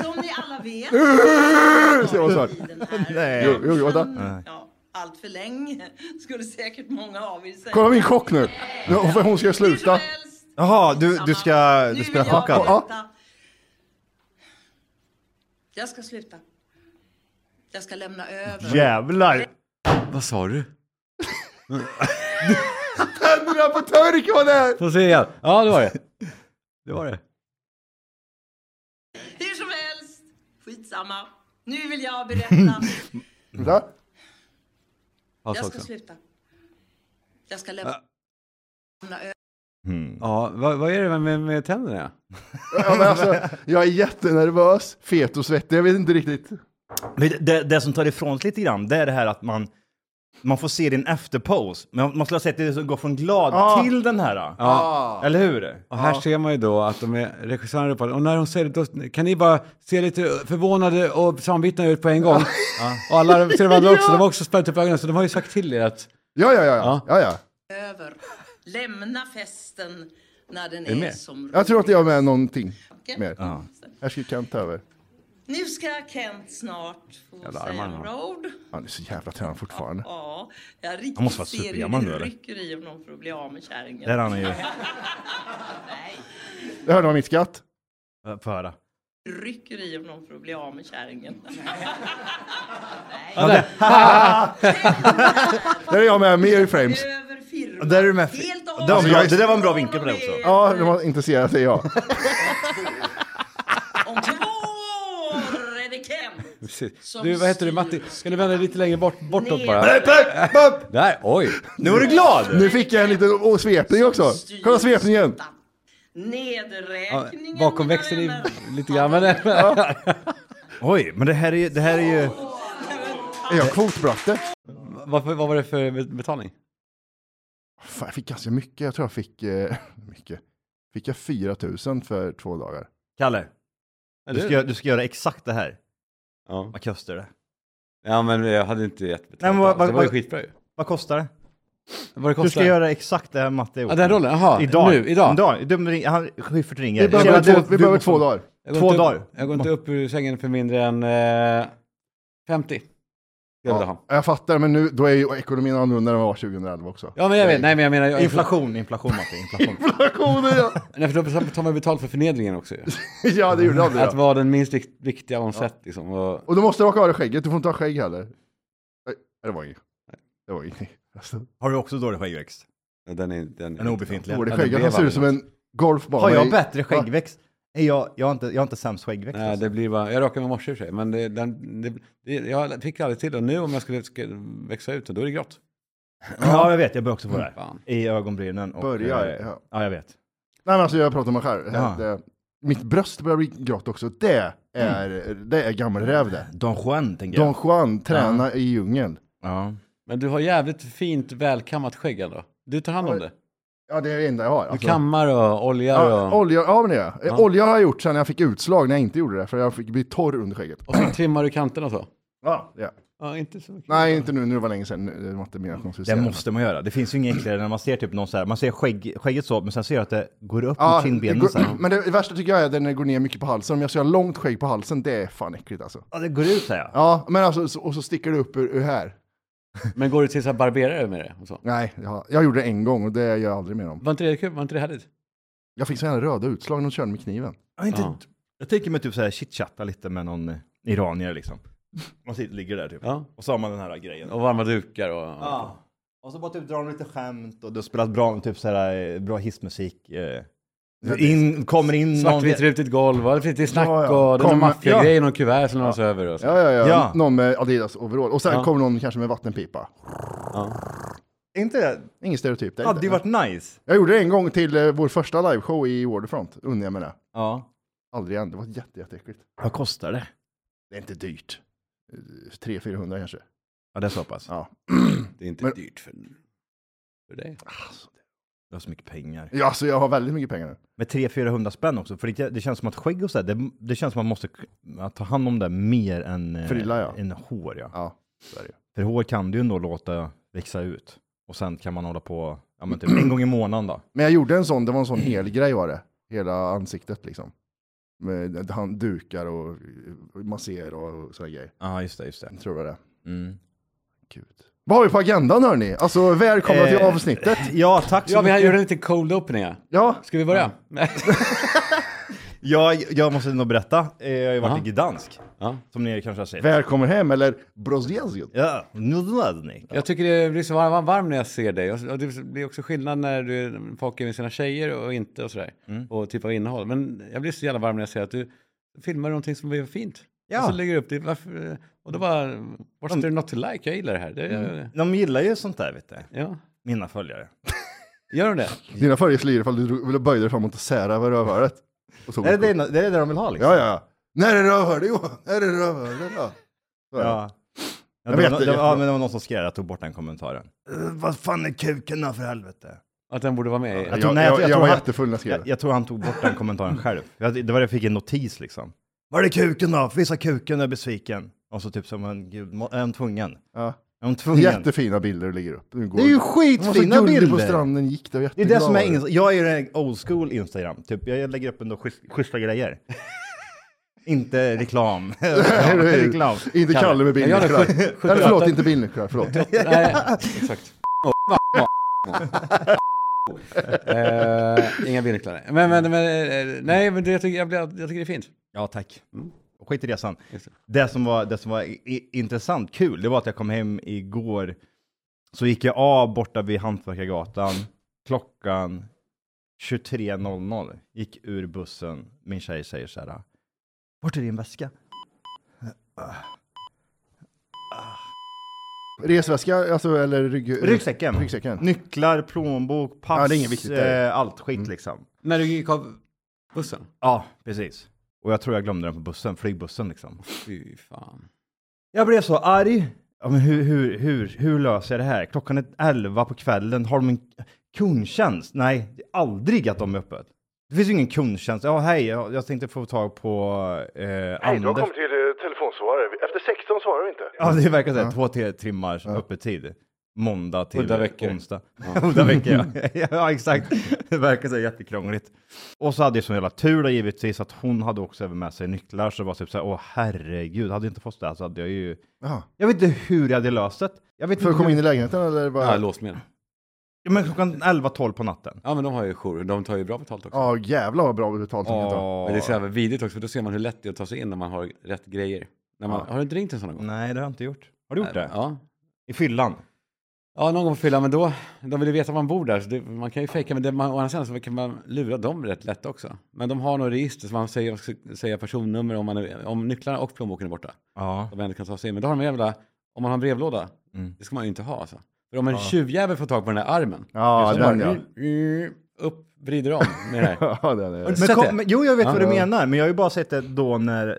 Speaker 6: Som ni
Speaker 3: [laughs]
Speaker 6: alla vet
Speaker 3: ser man snart.
Speaker 6: i den här
Speaker 3: Jo,
Speaker 1: Nej.
Speaker 3: jo, vänta.
Speaker 6: branschen, ja, allt för länge, skulle säkert många av er säga.
Speaker 3: Kolla min chock nu. Nu- för Hon ska
Speaker 6: Hur som
Speaker 3: sluta.
Speaker 6: helst,
Speaker 1: Jaha, du, du ska...
Speaker 6: nu
Speaker 1: Du
Speaker 6: vill
Speaker 1: spelar
Speaker 6: jag
Speaker 1: schackad?
Speaker 3: Ja.
Speaker 6: sluta. Jag ska sluta. Jag ska lämna över.
Speaker 1: Jävlar!
Speaker 4: Vad sa du?
Speaker 3: Tänderna på turk var där!
Speaker 4: Får se igen. Ja, det var
Speaker 3: [laughs]
Speaker 4: det. Det var det.
Speaker 6: Hur som helst, skitsamma. Nu vill
Speaker 1: [laughs]
Speaker 6: jag berätta.
Speaker 3: Vänta.
Speaker 4: Paus
Speaker 6: Jag
Speaker 4: också.
Speaker 6: ska sluta. Jag ska lämna över.
Speaker 1: Hmm.
Speaker 4: Ja, vad, vad är det med, med tänderna?
Speaker 3: Ja, men alltså, jag är jättenervös, fet och svettig. Jag vet inte riktigt.
Speaker 1: Men det, det som tar ifrån sig lite grann, det är det här att man, man får se din efterpose. Men man skulle ha sett det som går från glad
Speaker 3: Ja.
Speaker 1: till den här.
Speaker 3: Ah.
Speaker 1: Eller hur?
Speaker 4: Och här ser man ju då att de är regissören ropar, och när hon säger det, då kan ni bara se lite förvånade och samvittnade ut på en gång. Och alla ser varandra också, de har också spärrat upp ögonen, så de har ju sagt till er att
Speaker 3: Ja, ja, ja, ja. ja, ja.
Speaker 6: Lämna festen när den
Speaker 4: du
Speaker 6: är,
Speaker 4: med?
Speaker 6: som
Speaker 3: Jag tror att jag är med någonting
Speaker 6: roligast.
Speaker 3: mer. Här ska Kent ta över.
Speaker 6: Nu ska Kent snart få
Speaker 4: Jävla
Speaker 6: sig en
Speaker 4: armarna.
Speaker 6: road.
Speaker 3: Han är så jävla tränad fortfarande.
Speaker 6: Ja, jag riktigt
Speaker 1: måste vara
Speaker 6: ser
Speaker 1: supergammal
Speaker 6: hur
Speaker 1: nu,
Speaker 6: det
Speaker 1: eller?
Speaker 6: rycker i honom för att bli av med
Speaker 1: Där är
Speaker 6: kärringen.
Speaker 1: han ju.
Speaker 3: Det hörde man mitt skratt.
Speaker 1: Äh, Få höra.
Speaker 6: Rycker i honom för att bli av med kärringen.
Speaker 3: Där är jag med, mer i frames.
Speaker 6: Över firma.
Speaker 1: Där är du med.
Speaker 6: Helt och
Speaker 1: Det var
Speaker 6: hållet.
Speaker 1: en bra- det där var en bra vinkel på det också.
Speaker 3: Ja, de var intresserade, säger jag.
Speaker 6: Om två år är det Kent.
Speaker 4: Precis.
Speaker 6: Som
Speaker 4: Du, vad heter du Matti? Kan du vända dig lite längre bort, bortåt bara? Där, oj!
Speaker 1: Nu var du glad!
Speaker 3: Nu fick jag en liten oh, svepning också. Kolla svepningen.
Speaker 4: Ja,
Speaker 6: Nedräkningen,
Speaker 4: Bakom
Speaker 6: mina
Speaker 4: växeln är
Speaker 6: vänner.
Speaker 4: lite grann, men...
Speaker 1: Oj, men det här är ju, det här är ju...
Speaker 3: Är jag kvotbratte?
Speaker 4: Varför, vad var det för bet- betalning?
Speaker 3: Fan, jag fick ganska mycket. Jag tror jag fick... Eh, mycket. Fick jag 4 000 för två dagar?
Speaker 1: Kalle,
Speaker 4: Ja,
Speaker 1: du
Speaker 4: det-
Speaker 1: ska, göra- du ska göra exakt det här.
Speaker 4: Ja.
Speaker 1: Vad kostar det?
Speaker 4: ja, men jag hade inte gett betalt
Speaker 1: Nej, men vad-
Speaker 4: alls. Det var ju
Speaker 1: vad-
Speaker 4: skitbra ju.
Speaker 1: Vad kostar det?
Speaker 4: Vad det kostar?
Speaker 1: Du ska göra exakt det här Matte
Speaker 4: Ja, den rollen? Jaha,
Speaker 1: Idag.
Speaker 4: nu, idag?
Speaker 1: idag. Dum, ring- han, Schyffert ringer.
Speaker 3: Vi behöver,
Speaker 1: Tjena,
Speaker 3: två,
Speaker 1: du-
Speaker 3: vi
Speaker 1: du
Speaker 3: behöver
Speaker 1: måste-
Speaker 3: två dagar.
Speaker 4: Jag går
Speaker 1: Två
Speaker 4: inte upp,
Speaker 1: dagar.
Speaker 4: Jag går inte upp ur sängen för mindre än eh, 50. Jag vill
Speaker 3: Ja,
Speaker 4: ha.
Speaker 3: jag fattar, men nu, då är ju ekonomin annorlunda än vad den var 2011 också.
Speaker 1: [laughs]
Speaker 4: Ja, men jag vet. Nej, men jag menar... Jag,
Speaker 1: Inflation, inflation Matte, inflation.
Speaker 3: Inflationen, ja.
Speaker 4: Nej, för då tar man betalt för förnedringen också ju.
Speaker 3: [laughs] ja, det gjorde aldrig
Speaker 4: Att
Speaker 3: jag.
Speaker 4: vara den minst vikt, viktiga hon sett liksom. Och,
Speaker 3: Och då måste du raka av dig skägget, du får inte ha skägg heller. Nej, det var inget. Det var inget. [laughs] Alltså,
Speaker 1: [laughs] Har du också dålig skäggväxt?
Speaker 4: och den är... Den,
Speaker 1: Den är obefintlig.
Speaker 3: dålig
Speaker 4: det
Speaker 3: skägg,
Speaker 4: blev
Speaker 3: han ser ut
Speaker 4: aldrig
Speaker 3: som en golfbana.
Speaker 1: Har jag
Speaker 3: i-
Speaker 1: bättre
Speaker 3: Va?
Speaker 1: skäggväxt? Nej, jag, jag, har inte, jag har inte sämst skäggväxt.
Speaker 4: Nej,
Speaker 1: alltså.
Speaker 4: det blir bara... Jag rakade mig i morse i och för sig, men det, den, det, det, jag fick aldrig till det. Och nu om jag skulle ska växa ut det, då är det grått.
Speaker 1: Ja, jag vet. Jag börjar också få det här.
Speaker 4: Fan.
Speaker 1: I ögonbrynen och...
Speaker 3: Börjar,
Speaker 1: eh,
Speaker 3: ja.
Speaker 1: Ja, jag vet.
Speaker 3: Nej, men alltså jag pratar om mig själv.
Speaker 1: Ja.
Speaker 3: Det, mitt bröst börjar bli grått också. Det är,
Speaker 1: Mm.
Speaker 3: det är gammal räv det.
Speaker 1: Don Juan, tänker
Speaker 3: Don
Speaker 1: jag.
Speaker 3: Juan tränar i djungeln.
Speaker 1: Ja.
Speaker 4: Men du har jävligt fint välkammat skägg ändå. Du tar hand om det.
Speaker 3: Ja, det är det enda jag har.
Speaker 4: Du
Speaker 3: Alltså.
Speaker 4: kammar och oljar
Speaker 3: ja,
Speaker 4: och...
Speaker 3: olja, ja, men det gör jag. Eh, Olja har jag gjort sen jag fick utslag när jag inte gjorde det, för jag fick bli torr under skägget.
Speaker 4: Och så trimmar du kanterna och så.
Speaker 3: Ja, ja.
Speaker 4: Ja, inte så mycket.
Speaker 3: Nej, inte nu, nu var det länge sedan. Nu- Det var inte mer
Speaker 1: Det
Speaker 3: konsisterande.
Speaker 1: måste man göra. Det finns ju inget äckligare när man ser typ någon så här, man ser skägg, skägget så, men sen ser jag att det går upp mot kindbenen
Speaker 3: det
Speaker 1: så
Speaker 3: går,
Speaker 1: här.
Speaker 3: Men det värsta tycker jag är när det går ner mycket på halsen. Om jag ska ha långt skägg på halsen, det är fan äckligt alltså.
Speaker 1: Ja, det går ut så här. Ja.
Speaker 3: Ja, men alltså, så, och så sticker det upp ur, ur här.
Speaker 4: Men går du till så här barberare med det? Och så?
Speaker 3: Nej, jag, jag gjorde det en gång och det gör jag aldrig mer om.
Speaker 4: Var inte det kul? Var inte det härligt?
Speaker 3: Jag fick sådana röda utslag när de körde med kniven.
Speaker 1: Jag, inte,
Speaker 4: Ja.
Speaker 1: jag tänker mig typ så här chitchatta lite med någon eh, iranier liksom. Man sitter, ligger där typ.
Speaker 4: Ja.
Speaker 1: Och så har man den här grejen.
Speaker 4: Och varma dukar och...
Speaker 1: Ja. Och så bara typ drar de lite skämt och du har spelat bra, typ så här, eh, bra hissmusik. eh. In, kommer in någon...
Speaker 4: Svartvitt rutigt golv och det finns lite snack
Speaker 3: Ja, ja.
Speaker 4: och det är någon
Speaker 3: Kommer-
Speaker 4: maffiagrej, någon kuvert som lämnas över och så.
Speaker 3: Ja, ja, ja.
Speaker 1: Ja.
Speaker 3: Någon med Adidas overall. Och sen
Speaker 4: Ja.
Speaker 3: kommer någon kanske med vattenpipa.
Speaker 1: Inte det?
Speaker 3: Ingen stereotyp. Det är
Speaker 1: Hade
Speaker 3: inte-
Speaker 1: ju varit nice.
Speaker 3: Jag gjorde det en gång till eh, vår första liveshow i Waterfront. Undrar jag med det.
Speaker 1: Ja.
Speaker 3: Aldrig igen. Det var jätte, jätteäckligt.
Speaker 1: Vad kostar det?
Speaker 3: Det är inte dyrt. 300-400 Eh, kanske.
Speaker 1: Ja, det är så pass.
Speaker 3: Ja.
Speaker 4: Det är inte
Speaker 3: Men- Alltså,
Speaker 4: dyrt för, för dig.
Speaker 1: Du har så mycket pengar.
Speaker 3: ja, alltså jag har väldigt mycket pengar nu.
Speaker 1: Med 300-400 spänn också. För det, det känns som att skägg och så här, det, det känns som att man måste k- att ta hand om det mer än, eh,
Speaker 3: Frilla, ja.
Speaker 1: än hår. Ja.
Speaker 3: Ja, så är det ju.
Speaker 1: För hår kan du ju ändå låta växa ut. Och sen kan man hålla på ja, men typ en gång i månaden då.
Speaker 3: Men jag gjorde en sån, det var en sån hel grej var det. Hela ansiktet liksom. Med handdukar och och masser och sådana grejer.
Speaker 1: Ja, just det, just det.
Speaker 3: Jag tror det var det.
Speaker 1: Mm.
Speaker 3: Gud. Vad har vi på agendan hörni? Alltså välkomna till
Speaker 1: Eh.
Speaker 3: avsnittet.
Speaker 1: Ja, tack så
Speaker 4: Ja, vi har
Speaker 1: mycket.
Speaker 4: gjort en liten cold opening. ja.
Speaker 3: Ja,
Speaker 4: Ska vi börja? Ja.
Speaker 1: Jag, jag måste nog berätta. Eh, Jag har ju varit
Speaker 4: Aha.
Speaker 1: i Gdansk,
Speaker 4: Ja.
Speaker 1: som ni kanske har sett.
Speaker 3: välkommen hem eller brosjezjut.
Speaker 1: Ja, Nudladnik.
Speaker 4: [laughs] Jag tycker det blir så varm, varm när jag ser dig. Och så- och Det blir också skillnad när du, folk är med sina tjejer och inte och sådär.
Speaker 3: Mm.
Speaker 4: Och typ av innehåll. Men jag blir så jävla varm när jag ser att du filmar någonting som blir fint.
Speaker 1: Ja.
Speaker 4: Och så lägger du upp det. Varför, och då bara,
Speaker 3: Mm.
Speaker 4: what's there not to like? Jag gillar det här. Det,
Speaker 1: De gillar ju sånt där, vet du.
Speaker 4: ja.
Speaker 1: Mina följare.
Speaker 4: Gör de det?
Speaker 3: Dina följare slår ifall du drog- ville böja dig framåt och sära över rövhålet. Och tog
Speaker 1: Det är
Speaker 3: en
Speaker 1: det,
Speaker 3: kort.
Speaker 1: det är det de vill ha liksom.
Speaker 3: Ja, ja, ja. När är rövhålet Johan? När är rövhålet då? Så är det.
Speaker 1: Ja. Ja,
Speaker 3: Jag
Speaker 1: det,
Speaker 3: vet
Speaker 1: var,
Speaker 3: det,
Speaker 1: det, var,
Speaker 3: jättebra.
Speaker 1: ja, men det var någon som skrev, jag tog bort den kommentaren. Eh, vad fan är kuken då för helvete?
Speaker 4: Att den borde vara med? i-
Speaker 1: Jag
Speaker 3: Jag,
Speaker 1: tror-
Speaker 3: jag,
Speaker 1: nej, jag-
Speaker 3: jag,
Speaker 1: jag tror
Speaker 3: var
Speaker 1: han-
Speaker 3: jättefull när jag skrev
Speaker 1: Jag,
Speaker 3: det.
Speaker 1: jag tror han tog bort den kommentaren själv. Jag, det var det jag fick en notis liksom. Var är kuken då? Visa kuken, jag är besviken. Och så typ som en gud, må- är de tvungen?
Speaker 3: Ja.
Speaker 1: Är de tvungen?
Speaker 3: Jättefina bilder du lägger upp. Du går-
Speaker 1: Det är ju
Speaker 3: Det var så
Speaker 1: skitfina
Speaker 3: gullig
Speaker 1: bilder!
Speaker 3: på stranden gick det och
Speaker 1: Det är det som är,
Speaker 3: [laughs]
Speaker 1: ins- jag är ju old school Instagram, typ jag lägger upp ändå schysst, schyssta grejer. Inte reklam.
Speaker 3: Eller
Speaker 1: reklam.
Speaker 3: hur?
Speaker 1: reklam.
Speaker 3: Inte Kalle med
Speaker 4: Jag gör det
Speaker 3: bilnycklar. Nej, förlåt, inte bilnycklar.
Speaker 1: [laughs]
Speaker 3: Förlåt.
Speaker 4: [laughs] Nej, exakt. Eh, inga bilnycklar. Men, men, men, eh, nej, men det, jag, tycker, jag, blir- jag tycker det är fint.
Speaker 1: Ja, tack.
Speaker 3: Mm.
Speaker 1: Skit i resan.
Speaker 4: Just det.
Speaker 1: Det som var, det som var i, i, intressant, kul, det var att jag kom hem igår. Så gick jag av borta vid Hantverkargatan klockan 23.00. Gick ur bussen. Min tjej säger så här. Vart är din väska?
Speaker 3: Resväska, alltså, eller rygg...
Speaker 1: Ryggsäcken.
Speaker 3: Ryggsäcken.
Speaker 1: Nycklar, plånbok, pass,
Speaker 3: Ja, det är inget viktigt, det Mm. är-
Speaker 1: eh, allt skit liksom.
Speaker 4: När du gick av bussen?
Speaker 1: Ja, precis. Och jag tror jag glömde den på bussen, flygbussen liksom.
Speaker 4: Fy fan.
Speaker 1: Jag blev så arg. Ja, men hur, hur, hur, hur löser jag det här? Klockan är 11 på kvällen. Har de en kundtjänst? Nej, det är aldrig att de är öppet. Det finns ju ingen kundtjänst. Ja, hej, jag, jag tänkte få tag på eh,
Speaker 7: Hej, du har
Speaker 1: Anders.
Speaker 7: kommit till eh, telefonsvarare. Efter 16 svarar vi inte.
Speaker 1: Ja, det verkar så här. Två till timmars öppettid. Måndag till
Speaker 4: Udda veckor.
Speaker 1: onsdag. [laughs] Udda veckor, ja. ja. exakt. Det verkar så här jättekrångligt. Och så hade jag sån jävla tur då givetvis att hon hade också även med sig nycklar. Så det var typ så här, åh herregud, hade jag inte fått det här så hade jag ju...
Speaker 3: Jaha.
Speaker 1: Jag vet inte hur jag hade löst det. Jag vet
Speaker 3: För att
Speaker 1: inte
Speaker 3: komma
Speaker 1: hur...
Speaker 3: in i lägenheten eller? Bara...
Speaker 4: Ja, lås med.
Speaker 1: Ja, men klockan 11-12 på natten.
Speaker 4: Ja, men de har ju jour. De tar ju bra betalt också.
Speaker 3: Ja, jävlar vad bra betalt de kan ta.
Speaker 4: Men det är så jävla vidrigt också, för då ser man hur lätt det är att ta sig in när man har rätt grejer. När man, Har du inte ringt en sån någon gång?
Speaker 1: Nej, det har jag inte gjort. Har du gjort det?
Speaker 4: Ja.
Speaker 1: I fyllan?
Speaker 4: Ja, någon gång på fyllan, men då, de vill ju veta var man bor där, så det, man kan ju fejka, men det, man, å andra sidan så kan man lura dem rätt lätt också. Men de har något register, så man säger, man ska säga personnummer om, man är, om nycklarna och plånboken är borta.
Speaker 1: Ja.
Speaker 4: Om man ändå kan ta sig in. Men då har de en jävla, om man har en brevlåda,
Speaker 3: Mm.
Speaker 4: det ska man ju inte ha alltså. För om en tjuvjävel får tag på den där armen,
Speaker 3: Ja,
Speaker 4: så
Speaker 3: den
Speaker 4: bara,
Speaker 3: ja.
Speaker 4: mm, [laughs] upp, vrider om med det här.
Speaker 3: [laughs] Ja, den är...
Speaker 1: Men
Speaker 4: Sett
Speaker 1: kom,
Speaker 4: det?
Speaker 1: men, jo, jag vet
Speaker 4: Ja.
Speaker 1: vad du menar, men jag har ju bara sett det då när...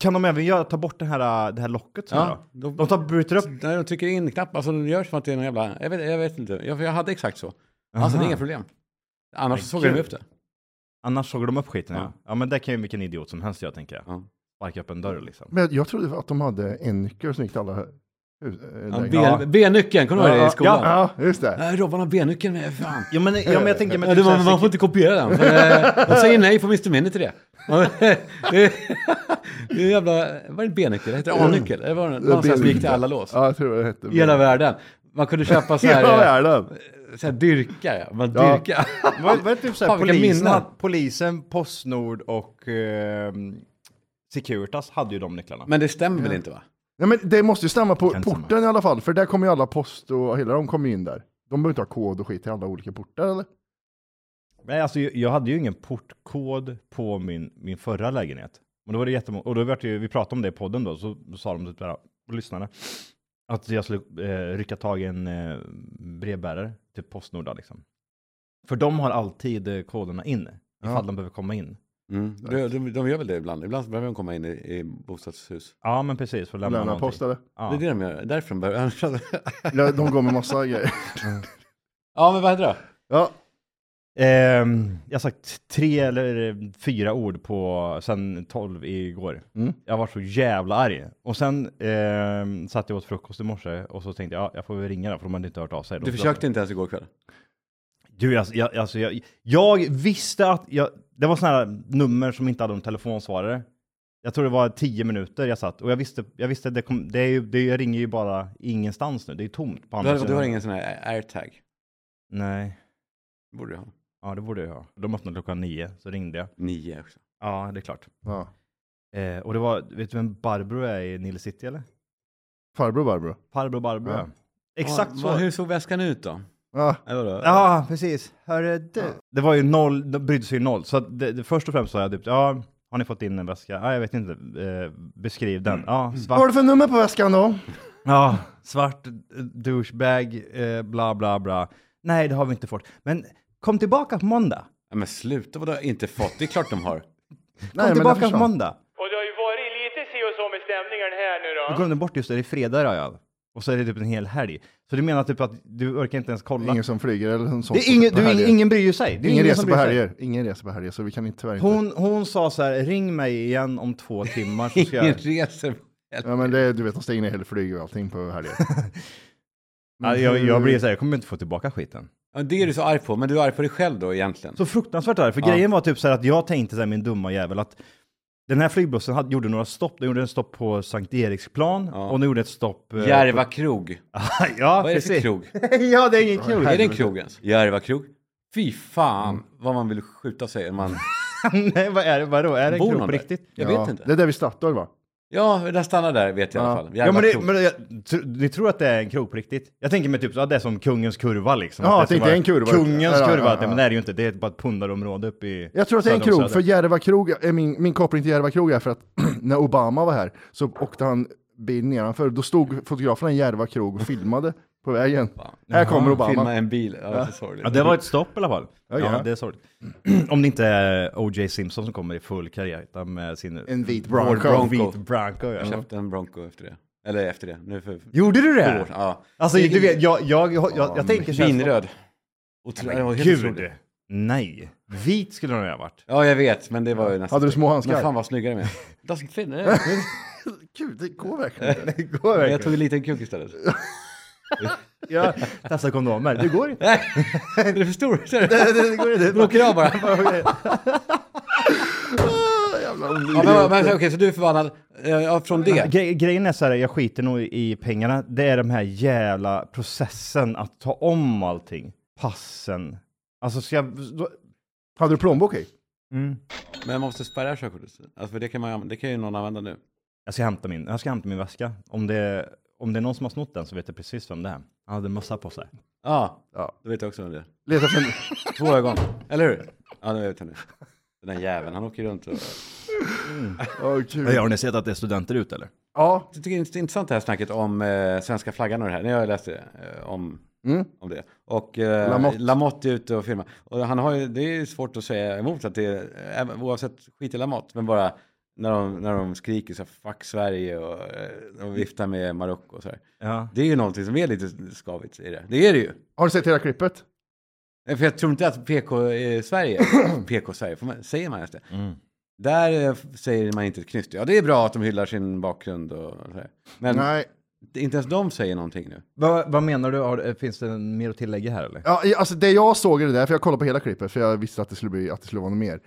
Speaker 1: Kan de även göra, ta bort den här, äh, det här locket?
Speaker 4: Ja,
Speaker 1: Ja. Då?
Speaker 4: de-
Speaker 1: De tar, bryter upp...
Speaker 4: Nej, de trycker in knapp, alltså de gör som att det är någon jävla, jag vet, jag vet inte, jag, för jag hade exakt så. Alltså det är inga problem. Annars såg de
Speaker 1: gud.
Speaker 4: upp det.
Speaker 1: Annars såg de upp skiten, ja.
Speaker 4: Ja.
Speaker 1: Ja, men det kan ju vilken idiot som helst göra, tänker jag.
Speaker 4: Ja.
Speaker 1: Sparka upp en dörr liksom.
Speaker 3: Men jag trodde att de hade en nyckel som gick till alla hus. eh,
Speaker 4: Ja,
Speaker 3: lägenheter.
Speaker 4: B- B-nyckeln, kommer du ihåg det i skolan?
Speaker 3: Ja, just det.
Speaker 4: Nej, Äh, Robban har B-nyckeln med, fan.
Speaker 1: Jo, men, ja, men jag tänker... Men,
Speaker 4: Ja, det
Speaker 1: typ
Speaker 4: var,
Speaker 1: så här,
Speaker 4: man får inte kopiera den. För, eh, de säger nej på Mr. Minute till det. [laughs] det är det är jävla, var det en B-nyckel? Heter det A-nyckel? Det var någon som gick till alla lås.
Speaker 3: Ja, jag tror det hette.
Speaker 4: I hela världen. Man kunde köpa så
Speaker 3: [laughs] Hela
Speaker 4: här, eh,
Speaker 3: världen.
Speaker 4: så här dyrkar, ja. Man
Speaker 3: Ja.
Speaker 4: dyrkar.
Speaker 1: Var, var det typ såhär,
Speaker 4: Fan, vilka
Speaker 1: polisen,
Speaker 4: minnen.
Speaker 1: hade- polisen, Postnord och ehm, Securitas hade ju de nycklarna.
Speaker 4: Men det stämmer väl inte va?
Speaker 3: Ja, men det måste ju stämma på
Speaker 1: Kan inte
Speaker 3: porten i alla fall, för där kommer ju alla post och hela de kommer ju in där. De behöver inte ha kod och skit till alla olika portar eller?
Speaker 1: Nej, alltså jag- jag hade ju ingen portkod på min, min förra lägenhet. Men då var det jättemånga, och då vart det ju, vi pratade om det i podden då, så sa de typ där, och lyssnade, att jag skulle eh, rycka tag i en eh, brevbärare, typ Postnord då, liksom. För de har alltid eh, koderna in, ifall de behöver komma in.
Speaker 4: Mm. De, de, de gör väl det ibland. Ibland så behöver de komma in i, i bostadshus.
Speaker 1: Ja, men precis, för att lämna,
Speaker 3: Lämna post
Speaker 1: någonting.
Speaker 3: eller?
Speaker 1: Ja.
Speaker 4: Det är det de gör. Därför de behöver... [laughs]
Speaker 3: Ja, De går med massa grejer.
Speaker 4: ja, men vad hände då?
Speaker 3: Ja,
Speaker 1: Ehm, jag har sagt tre eller fyra ord på sen 12 igår.
Speaker 4: Mm.
Speaker 1: Jag var så jävla arg. Och sen ehm, satt jag åt frukost i morse och så tänkte jag, ja, jag får väl ringa då, för de hade inte hört av sig.
Speaker 4: Du försökte inte ens igår kväll.
Speaker 1: Du, jag, jag, alltså, jag, jag visste att, jag, det var sådana här nummer som inte hade någon telefonsvarare. Jag tror det var tio minuter jag satt och jag visste, jag visste att det kom, det är ju, det, jag ringer ju bara ingenstans nu, det är ju tomt
Speaker 4: Du
Speaker 1: på andra
Speaker 4: har, du har ingen sån här airtag.
Speaker 1: Nej,
Speaker 4: borde du ha.
Speaker 1: ja det borde jag ha. De öppnade klockan nio, så ringde jag.
Speaker 4: Nio också.
Speaker 1: Ja, det är klart.
Speaker 3: ja.
Speaker 1: Eh, och det var, vet du vem Barbro är i Nile City eller?
Speaker 3: farbror Barbro.
Speaker 1: Farbror Barbro.
Speaker 3: Ja.
Speaker 1: Exakt
Speaker 4: Vad-
Speaker 1: så. Äh,
Speaker 4: vad- Hur såg väskan ut då?
Speaker 3: Ja,
Speaker 4: Eller vadå?
Speaker 1: Ja, precis. Hörru du. Det var ju noll, de brydde sig ju noll. Så att det, det, först och främst sa jag typ, ja, har ni fått in en väska? Ja, jag vet inte. Eh, beskriv
Speaker 3: Mm.
Speaker 1: den. Ja,
Speaker 3: vad har
Speaker 1: svart.
Speaker 3: du för nummer på väskan då?
Speaker 1: Ja, svart eh, douchebag, eh, bla bla bla. Nej, det har vi inte fått. Men kom tillbaka på måndag.
Speaker 4: Ja, men sluta, vadå inte fått? Det är klart de
Speaker 1: [laughs]
Speaker 4: har.
Speaker 1: Kom
Speaker 3: men det
Speaker 1: tillbaka på
Speaker 3: försvann.
Speaker 1: måndag.
Speaker 8: Och det har ju varit lite si och så med stämningen här nu
Speaker 1: Jag
Speaker 8: då.
Speaker 1: glömde bort just det, det är fredag ja. Och så är det typ en hel helg. Så du menar typ att du orkar inte ens kolla?
Speaker 3: Ingen som flyger eller något sånt.
Speaker 1: det är ingen,
Speaker 3: på
Speaker 1: du,
Speaker 3: helger.
Speaker 1: ingen, ingen bryr sig. Det är
Speaker 3: Ingen
Speaker 1: ingen
Speaker 3: reser
Speaker 1: som
Speaker 3: på
Speaker 1: bryr sig.
Speaker 3: helger. Ingen reser på helger, så vi kan inte, tyvärr inte.
Speaker 1: Hon, hon sa så här, ring mig igen om två timmar så ska
Speaker 4: [laughs] Ingen
Speaker 1: jag...
Speaker 4: reser.
Speaker 3: Ja, men det, är- du vet, de stänger ner hela flyg och allting på helger.
Speaker 1: Ja, jag, jag blir så här, jag kommer inte få tillbaka skiten.
Speaker 4: Ja, det är du så arg på, men du är arg på dig själv då egentligen.
Speaker 1: Så fruktansvärt arg, för grejen var typ så här att jag tänkte så här, min dumma jävel, att Den här flygbussen hade, gjorde några stopp. Den gjorde en stopp på Sankt Eriksplan och den gjorde ett stopp... eh,
Speaker 4: Järva krog.
Speaker 1: på- [laughs] ja,
Speaker 4: Vad är det för
Speaker 1: precis.
Speaker 4: krog?
Speaker 1: [laughs] ja, det är ingen krog.
Speaker 4: Är det en krog ens? Järva krog. Fy fan vad man vill skjuta sig. om
Speaker 1: [laughs]
Speaker 4: Man
Speaker 1: [laughs] Nej, vad är det? Vadå? Är det en
Speaker 4: bor
Speaker 1: krog
Speaker 4: någon
Speaker 1: på
Speaker 4: där.
Speaker 1: riktigt?
Speaker 4: Jag
Speaker 3: ja.
Speaker 4: vet inte.
Speaker 3: Det är där vid Statoil va?
Speaker 4: Ja, den stannar där vet jag i alla fall. Järva
Speaker 1: Ja, men, det,
Speaker 4: krog.
Speaker 1: men det, jag tr- ni tror att det är en krog på riktigt? Jag tänker mig typ så att det är som kungens kurva liksom.
Speaker 3: Ja,
Speaker 1: Att
Speaker 3: att det
Speaker 1: ska
Speaker 3: inte
Speaker 1: vara
Speaker 3: är en kurva.
Speaker 1: Kungens
Speaker 3: Ja, ja,
Speaker 1: kurva,
Speaker 3: ja,
Speaker 1: att det-
Speaker 3: ja.
Speaker 1: men det är det ju inte. Det är bara ett pundarområde uppe i...
Speaker 3: Jag tror att det är en
Speaker 1: söder om
Speaker 3: krog, för
Speaker 1: Söder.
Speaker 3: Järva krog, är min, min koppling till Järva krog är för att [clears throat] när Obama var här så åkte han bil nedanför, då stod fotograferna i Järva krog och filmade på vägen. Här kommer
Speaker 4: Filma
Speaker 3: Obama.
Speaker 4: en bil. Ja, så sorgligt.
Speaker 1: Ja, det var ett stopp i alla fall. Ja,
Speaker 3: ja.
Speaker 1: det är sorgligt. [clears throat] Om det inte är O.J. Simpson som kommer i full karriär med sin...
Speaker 3: En vit
Speaker 1: Ford
Speaker 3: Bronco.
Speaker 1: Vit Bronco, ja.
Speaker 4: Jag köpte en Bronco efter det. Eller efter det. Nu för
Speaker 1: Gjorde du
Speaker 4: två
Speaker 1: det?
Speaker 4: år sedan. Ja.
Speaker 1: Alltså, du vet, jag, jag, jag, jag, jag tänker så här-
Speaker 4: Vinröd. Otro... Ja, helt
Speaker 1: Gud!
Speaker 4: otroligt.
Speaker 1: Nej. Vit skulle den ha varit.
Speaker 4: Ja, jag vet, men det var ju nästan...
Speaker 3: Hade du små handskar?
Speaker 4: Men fan vad snyggare med. Doesn't fit. nej.
Speaker 3: Gud, det går
Speaker 1: [laughs]
Speaker 3: verkligen inte.
Speaker 1: Det går
Speaker 4: Men [laughs] jag tog en liten kuk istället.
Speaker 1: Jag testar kondomer. Det går inte.
Speaker 4: Nej, är det för stor? Ser du?
Speaker 1: Det, det
Speaker 3: [laughs]
Speaker 1: går inte.
Speaker 4: Den åker av bara. Ja,
Speaker 1: [laughs] Ah,
Speaker 4: men, men, men, okej, så du är förbannad eh, ja, från det?
Speaker 1: Gre- grejen är så här, jag skiter nog i pengarna. Det är den här jävla processen att ta om allting. Passen. Alltså, så jag... Då,
Speaker 3: Hade du plånbok i?
Speaker 4: Men jag måste spärra körkortet. Alltså, för det kan, man, ju använda- det kan ju någon använda nu.
Speaker 1: jag, ska hämta min, jag ska hämta min väska. Om det, om det är någon som har snott den så vet jag precis vem det är. Han hade mössa på sig.
Speaker 4: Ja,
Speaker 3: Ja.
Speaker 4: då vet jag också vem det är.
Speaker 3: Leta efter en...
Speaker 4: Två ögon, eller hur? Ja, det vet jag nu. Den där jäveln, han åker runt och...
Speaker 3: Åh, gud.
Speaker 1: Har ni sett att det är studenter ute eller?
Speaker 3: Ja,
Speaker 4: Jag tycker det är intressant det här snacket om eh, svenska flaggan och det här. När jag läste eh, om, om det. Och eh,
Speaker 3: Lamotte.
Speaker 4: Lamotte. är ute och filmar. Och han har ju, det är ju svårt att säga emot att det är, även- oavsett skit i Lamotte, men bara när de, när de skriker så här, fuck Sverige och eh, de viftar med Marocko och så här.
Speaker 1: Ja.
Speaker 4: Det är ju någonting som är lite skavigt i det. Det är det ju.
Speaker 3: har du sett hela klippet?
Speaker 4: Nej, För jag tror inte att eh, PK-Sverige, PK-Sverige, får man- säger man ens det? Där eh, f- säger man inte ett knyst. Ja, det är bra att de hyllar sin bakgrund och så här. Men
Speaker 3: Nej.
Speaker 4: inte ens de säger någonting nu.
Speaker 1: Vad, vad menar du? Har, finns det mer att tillägga här eller?
Speaker 3: Ja, i- alltså det jag såg i det där, för jag kollade på hela klippet, för jag visste att det skulle, bli, att det skulle vara något mer.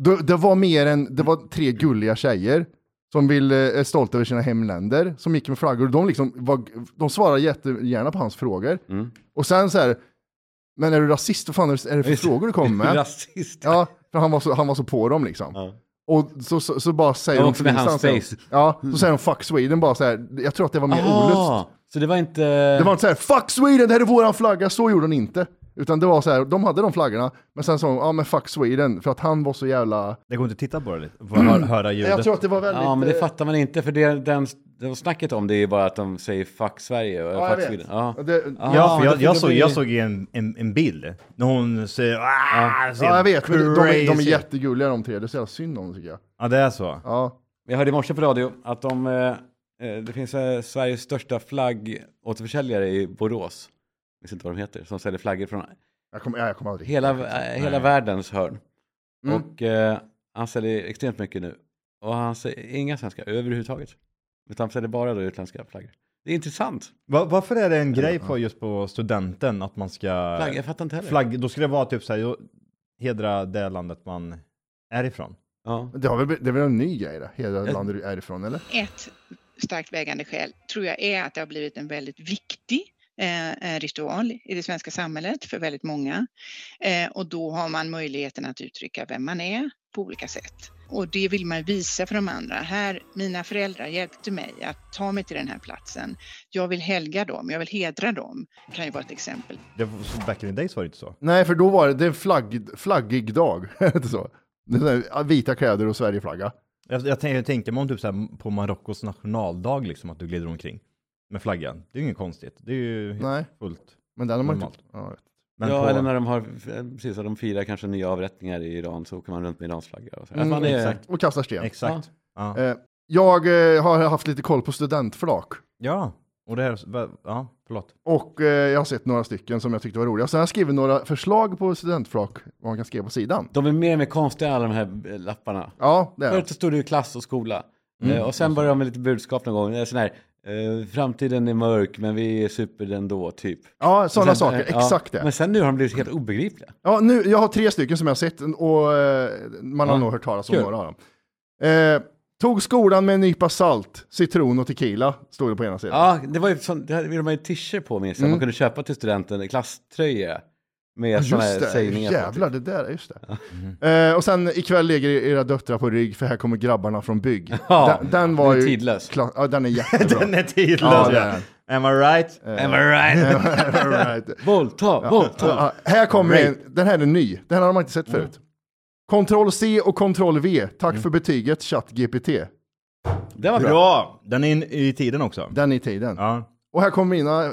Speaker 3: Det, det var mer än, det var tre gulliga tjejer som vill, eh, är stolta över sina hemländer, som gick med flaggor. De, liksom var, de svarade jättegärna på hans frågor.
Speaker 4: Mm.
Speaker 3: Och sen så här, men är du rasist? Vad fan är det, är det för frågor du
Speaker 4: [laughs]
Speaker 3: kommer med?
Speaker 4: Rasist.
Speaker 3: Ja, för han var så, han var så på dem liksom. Och så, så, så bara säger
Speaker 4: Och
Speaker 3: de
Speaker 4: också med hans
Speaker 3: ingenstans-
Speaker 4: face.
Speaker 3: Ja, så säger de fuck Sweden bara så här. Jag tror att det var mer olust.
Speaker 4: Ah, så det var inte...
Speaker 3: Det var inte så här, fuck Sweden, det här är våran flagga, så gjorde han inte. Utan det var så här, de hade de flaggorna, men sen sa de, ja men fuck Sweden, för att han var så jävla...
Speaker 1: Det går inte att titta på det lite. Bara hör, höra ljudet.
Speaker 3: Jag tror att det var väldigt...
Speaker 4: Ja, men det
Speaker 3: eh,
Speaker 4: fattar man inte. För det, den, det snacket om det är ju bara att de säger fuck Sverige och
Speaker 3: ja, jag
Speaker 4: fuck
Speaker 3: vet.
Speaker 4: Sweden. Ja.
Speaker 3: Det, ja.
Speaker 1: Ja,
Speaker 4: Ah,
Speaker 1: för
Speaker 4: det
Speaker 1: jag,
Speaker 4: får det
Speaker 1: jag, såg,
Speaker 4: bli-
Speaker 1: jag såg ju en, en, en bild när hon säger ah, ser
Speaker 3: jag vet, men de, de, är- de är
Speaker 1: crazy."
Speaker 3: jättegulliga de tre, det är så jävla synd om dem tycker jag.
Speaker 1: Ja, det är så.
Speaker 3: Ja.
Speaker 4: Jag hörde i morse på radio att de, eh, eh, det finns eh, Sveriges största flaggåterförsäljare i Borås. Jag vet inte vad de heter. Som säljer flaggor från
Speaker 3: Jag kommer, ja, jag kommer aldrig...
Speaker 4: hela, eh, hela världens hörn.
Speaker 3: Mm.
Speaker 4: Och eh, han säljer extremt mycket nu. Och han säljer inga svenska överhuvudtaget. Utan han säljer bara då utländska flaggor. Det är intressant.
Speaker 1: Va- Varför är det en grej på just på studenten att man ska...
Speaker 4: Flagg, jag fattar inte heller.
Speaker 1: flagg då skulle det vara typ så här, då- hedra det landet man är ifrån.
Speaker 4: Ja.
Speaker 3: Det, har väl, det är väl en ny grej det, hela landet du är ifrån eller?
Speaker 9: Ett starkt vägande skäl tror jag är att det har blivit en väldigt viktig eh, ritual i det svenska samhället för väldigt många. Eh, och då har man möjligheten att uttrycka vem man är på olika sätt. Och det vill man visa för de andra. Här, mina föräldrar hjälpte mig att ta mig till den här platsen. Jag vill helga dem, jag vill hedra dem. Det kan ju vara ett exempel.
Speaker 1: Det, var- så back in the days var det inte så.
Speaker 3: Nej, för då var det, det är en flagg, flaggig dag, [laughs] är det inte så? Det är så här, ja, vita kläder och Sverigeflagga.
Speaker 1: Jag, jag, tänk- jag tänkte mig om typ så här, på Marockos nationaldag liksom, att du glider omkring med flaggan. Det är ju inget konstigt. Det är ju helt
Speaker 3: Nej.
Speaker 1: fullt.
Speaker 3: Men den har man inte...
Speaker 1: Normalt.
Speaker 3: Ja, jag vet.
Speaker 1: Men
Speaker 4: ja,
Speaker 1: på,
Speaker 4: eller när de har, precis, att de firar kanske nya avrättningar i Iran så åker man runt med Irans flagga. Och
Speaker 3: Mm.
Speaker 4: så. Alltså, man är,
Speaker 1: exakt.
Speaker 3: och kastar sten.
Speaker 1: Exakt. Ja.
Speaker 3: Eh, jag eh, har haft lite koll på studentflak.
Speaker 1: ja, och det här... Ja, förlåt.
Speaker 3: Och eh, jag har sett några stycken som jag tyckte var roliga. Sen har jag skrivit några förslag på studentflak, vad man kan skriva på sidan.
Speaker 4: De är mer och mer konstiga alla de här eh, lapparna.
Speaker 3: Ja, det är
Speaker 4: Förut
Speaker 3: det.
Speaker 4: så stod det ju klass och skola.
Speaker 1: Mm.
Speaker 4: Eh, och sen började de med lite budskap någon gång. Eh, Sån här, eh, framtiden är mörk men vi är super ändå, typ.
Speaker 3: Ja, sådana
Speaker 4: Sen-
Speaker 3: saker.
Speaker 4: eh, ja.
Speaker 3: Exakt det.
Speaker 4: Men sen nu har de blivit helt obegripliga.
Speaker 3: Ja, nu, jag har tre stycken som jag har sett och eh, man har nog hört talas om
Speaker 4: Kul.
Speaker 3: några av dem. Eh, tog skolan med en nypa salt, citron och tequila, stod det på ena sidan.
Speaker 4: Ja, det var ju sånt, det hade de ju t-shirt på minns
Speaker 3: Mm.
Speaker 4: jag. Man kunde köpa till studenten klasströja. Med såna här
Speaker 3: Just det,
Speaker 4: sägningar på.
Speaker 3: jävlar, det där, är just det.
Speaker 4: Mm.
Speaker 3: Eh, och sen ikväll ligger era döttrar på rygg för här kommer grabbarna från bygg.
Speaker 4: Ja,
Speaker 3: den, den var
Speaker 4: den är
Speaker 3: ju...
Speaker 4: tidlös.
Speaker 3: kla- ja,
Speaker 4: [laughs]
Speaker 3: den är jättebra.
Speaker 1: [laughs] Den är tidlös.
Speaker 3: Ja, det
Speaker 1: Ja,
Speaker 3: är
Speaker 1: Am I right?
Speaker 4: Am I
Speaker 3: [laughs]
Speaker 4: right?
Speaker 3: [laughs] All right.
Speaker 4: Våldta, våldta.
Speaker 3: Ja, här kommer en, den här är ny, den här har man inte sett förut. Ctrl C och Ctrl V, tack för betyget ChatGPT.
Speaker 4: Det var bra.
Speaker 1: Bra! Den är in, i tiden också.
Speaker 3: Den är i tiden.
Speaker 1: Ja.
Speaker 3: Och här kommer mina,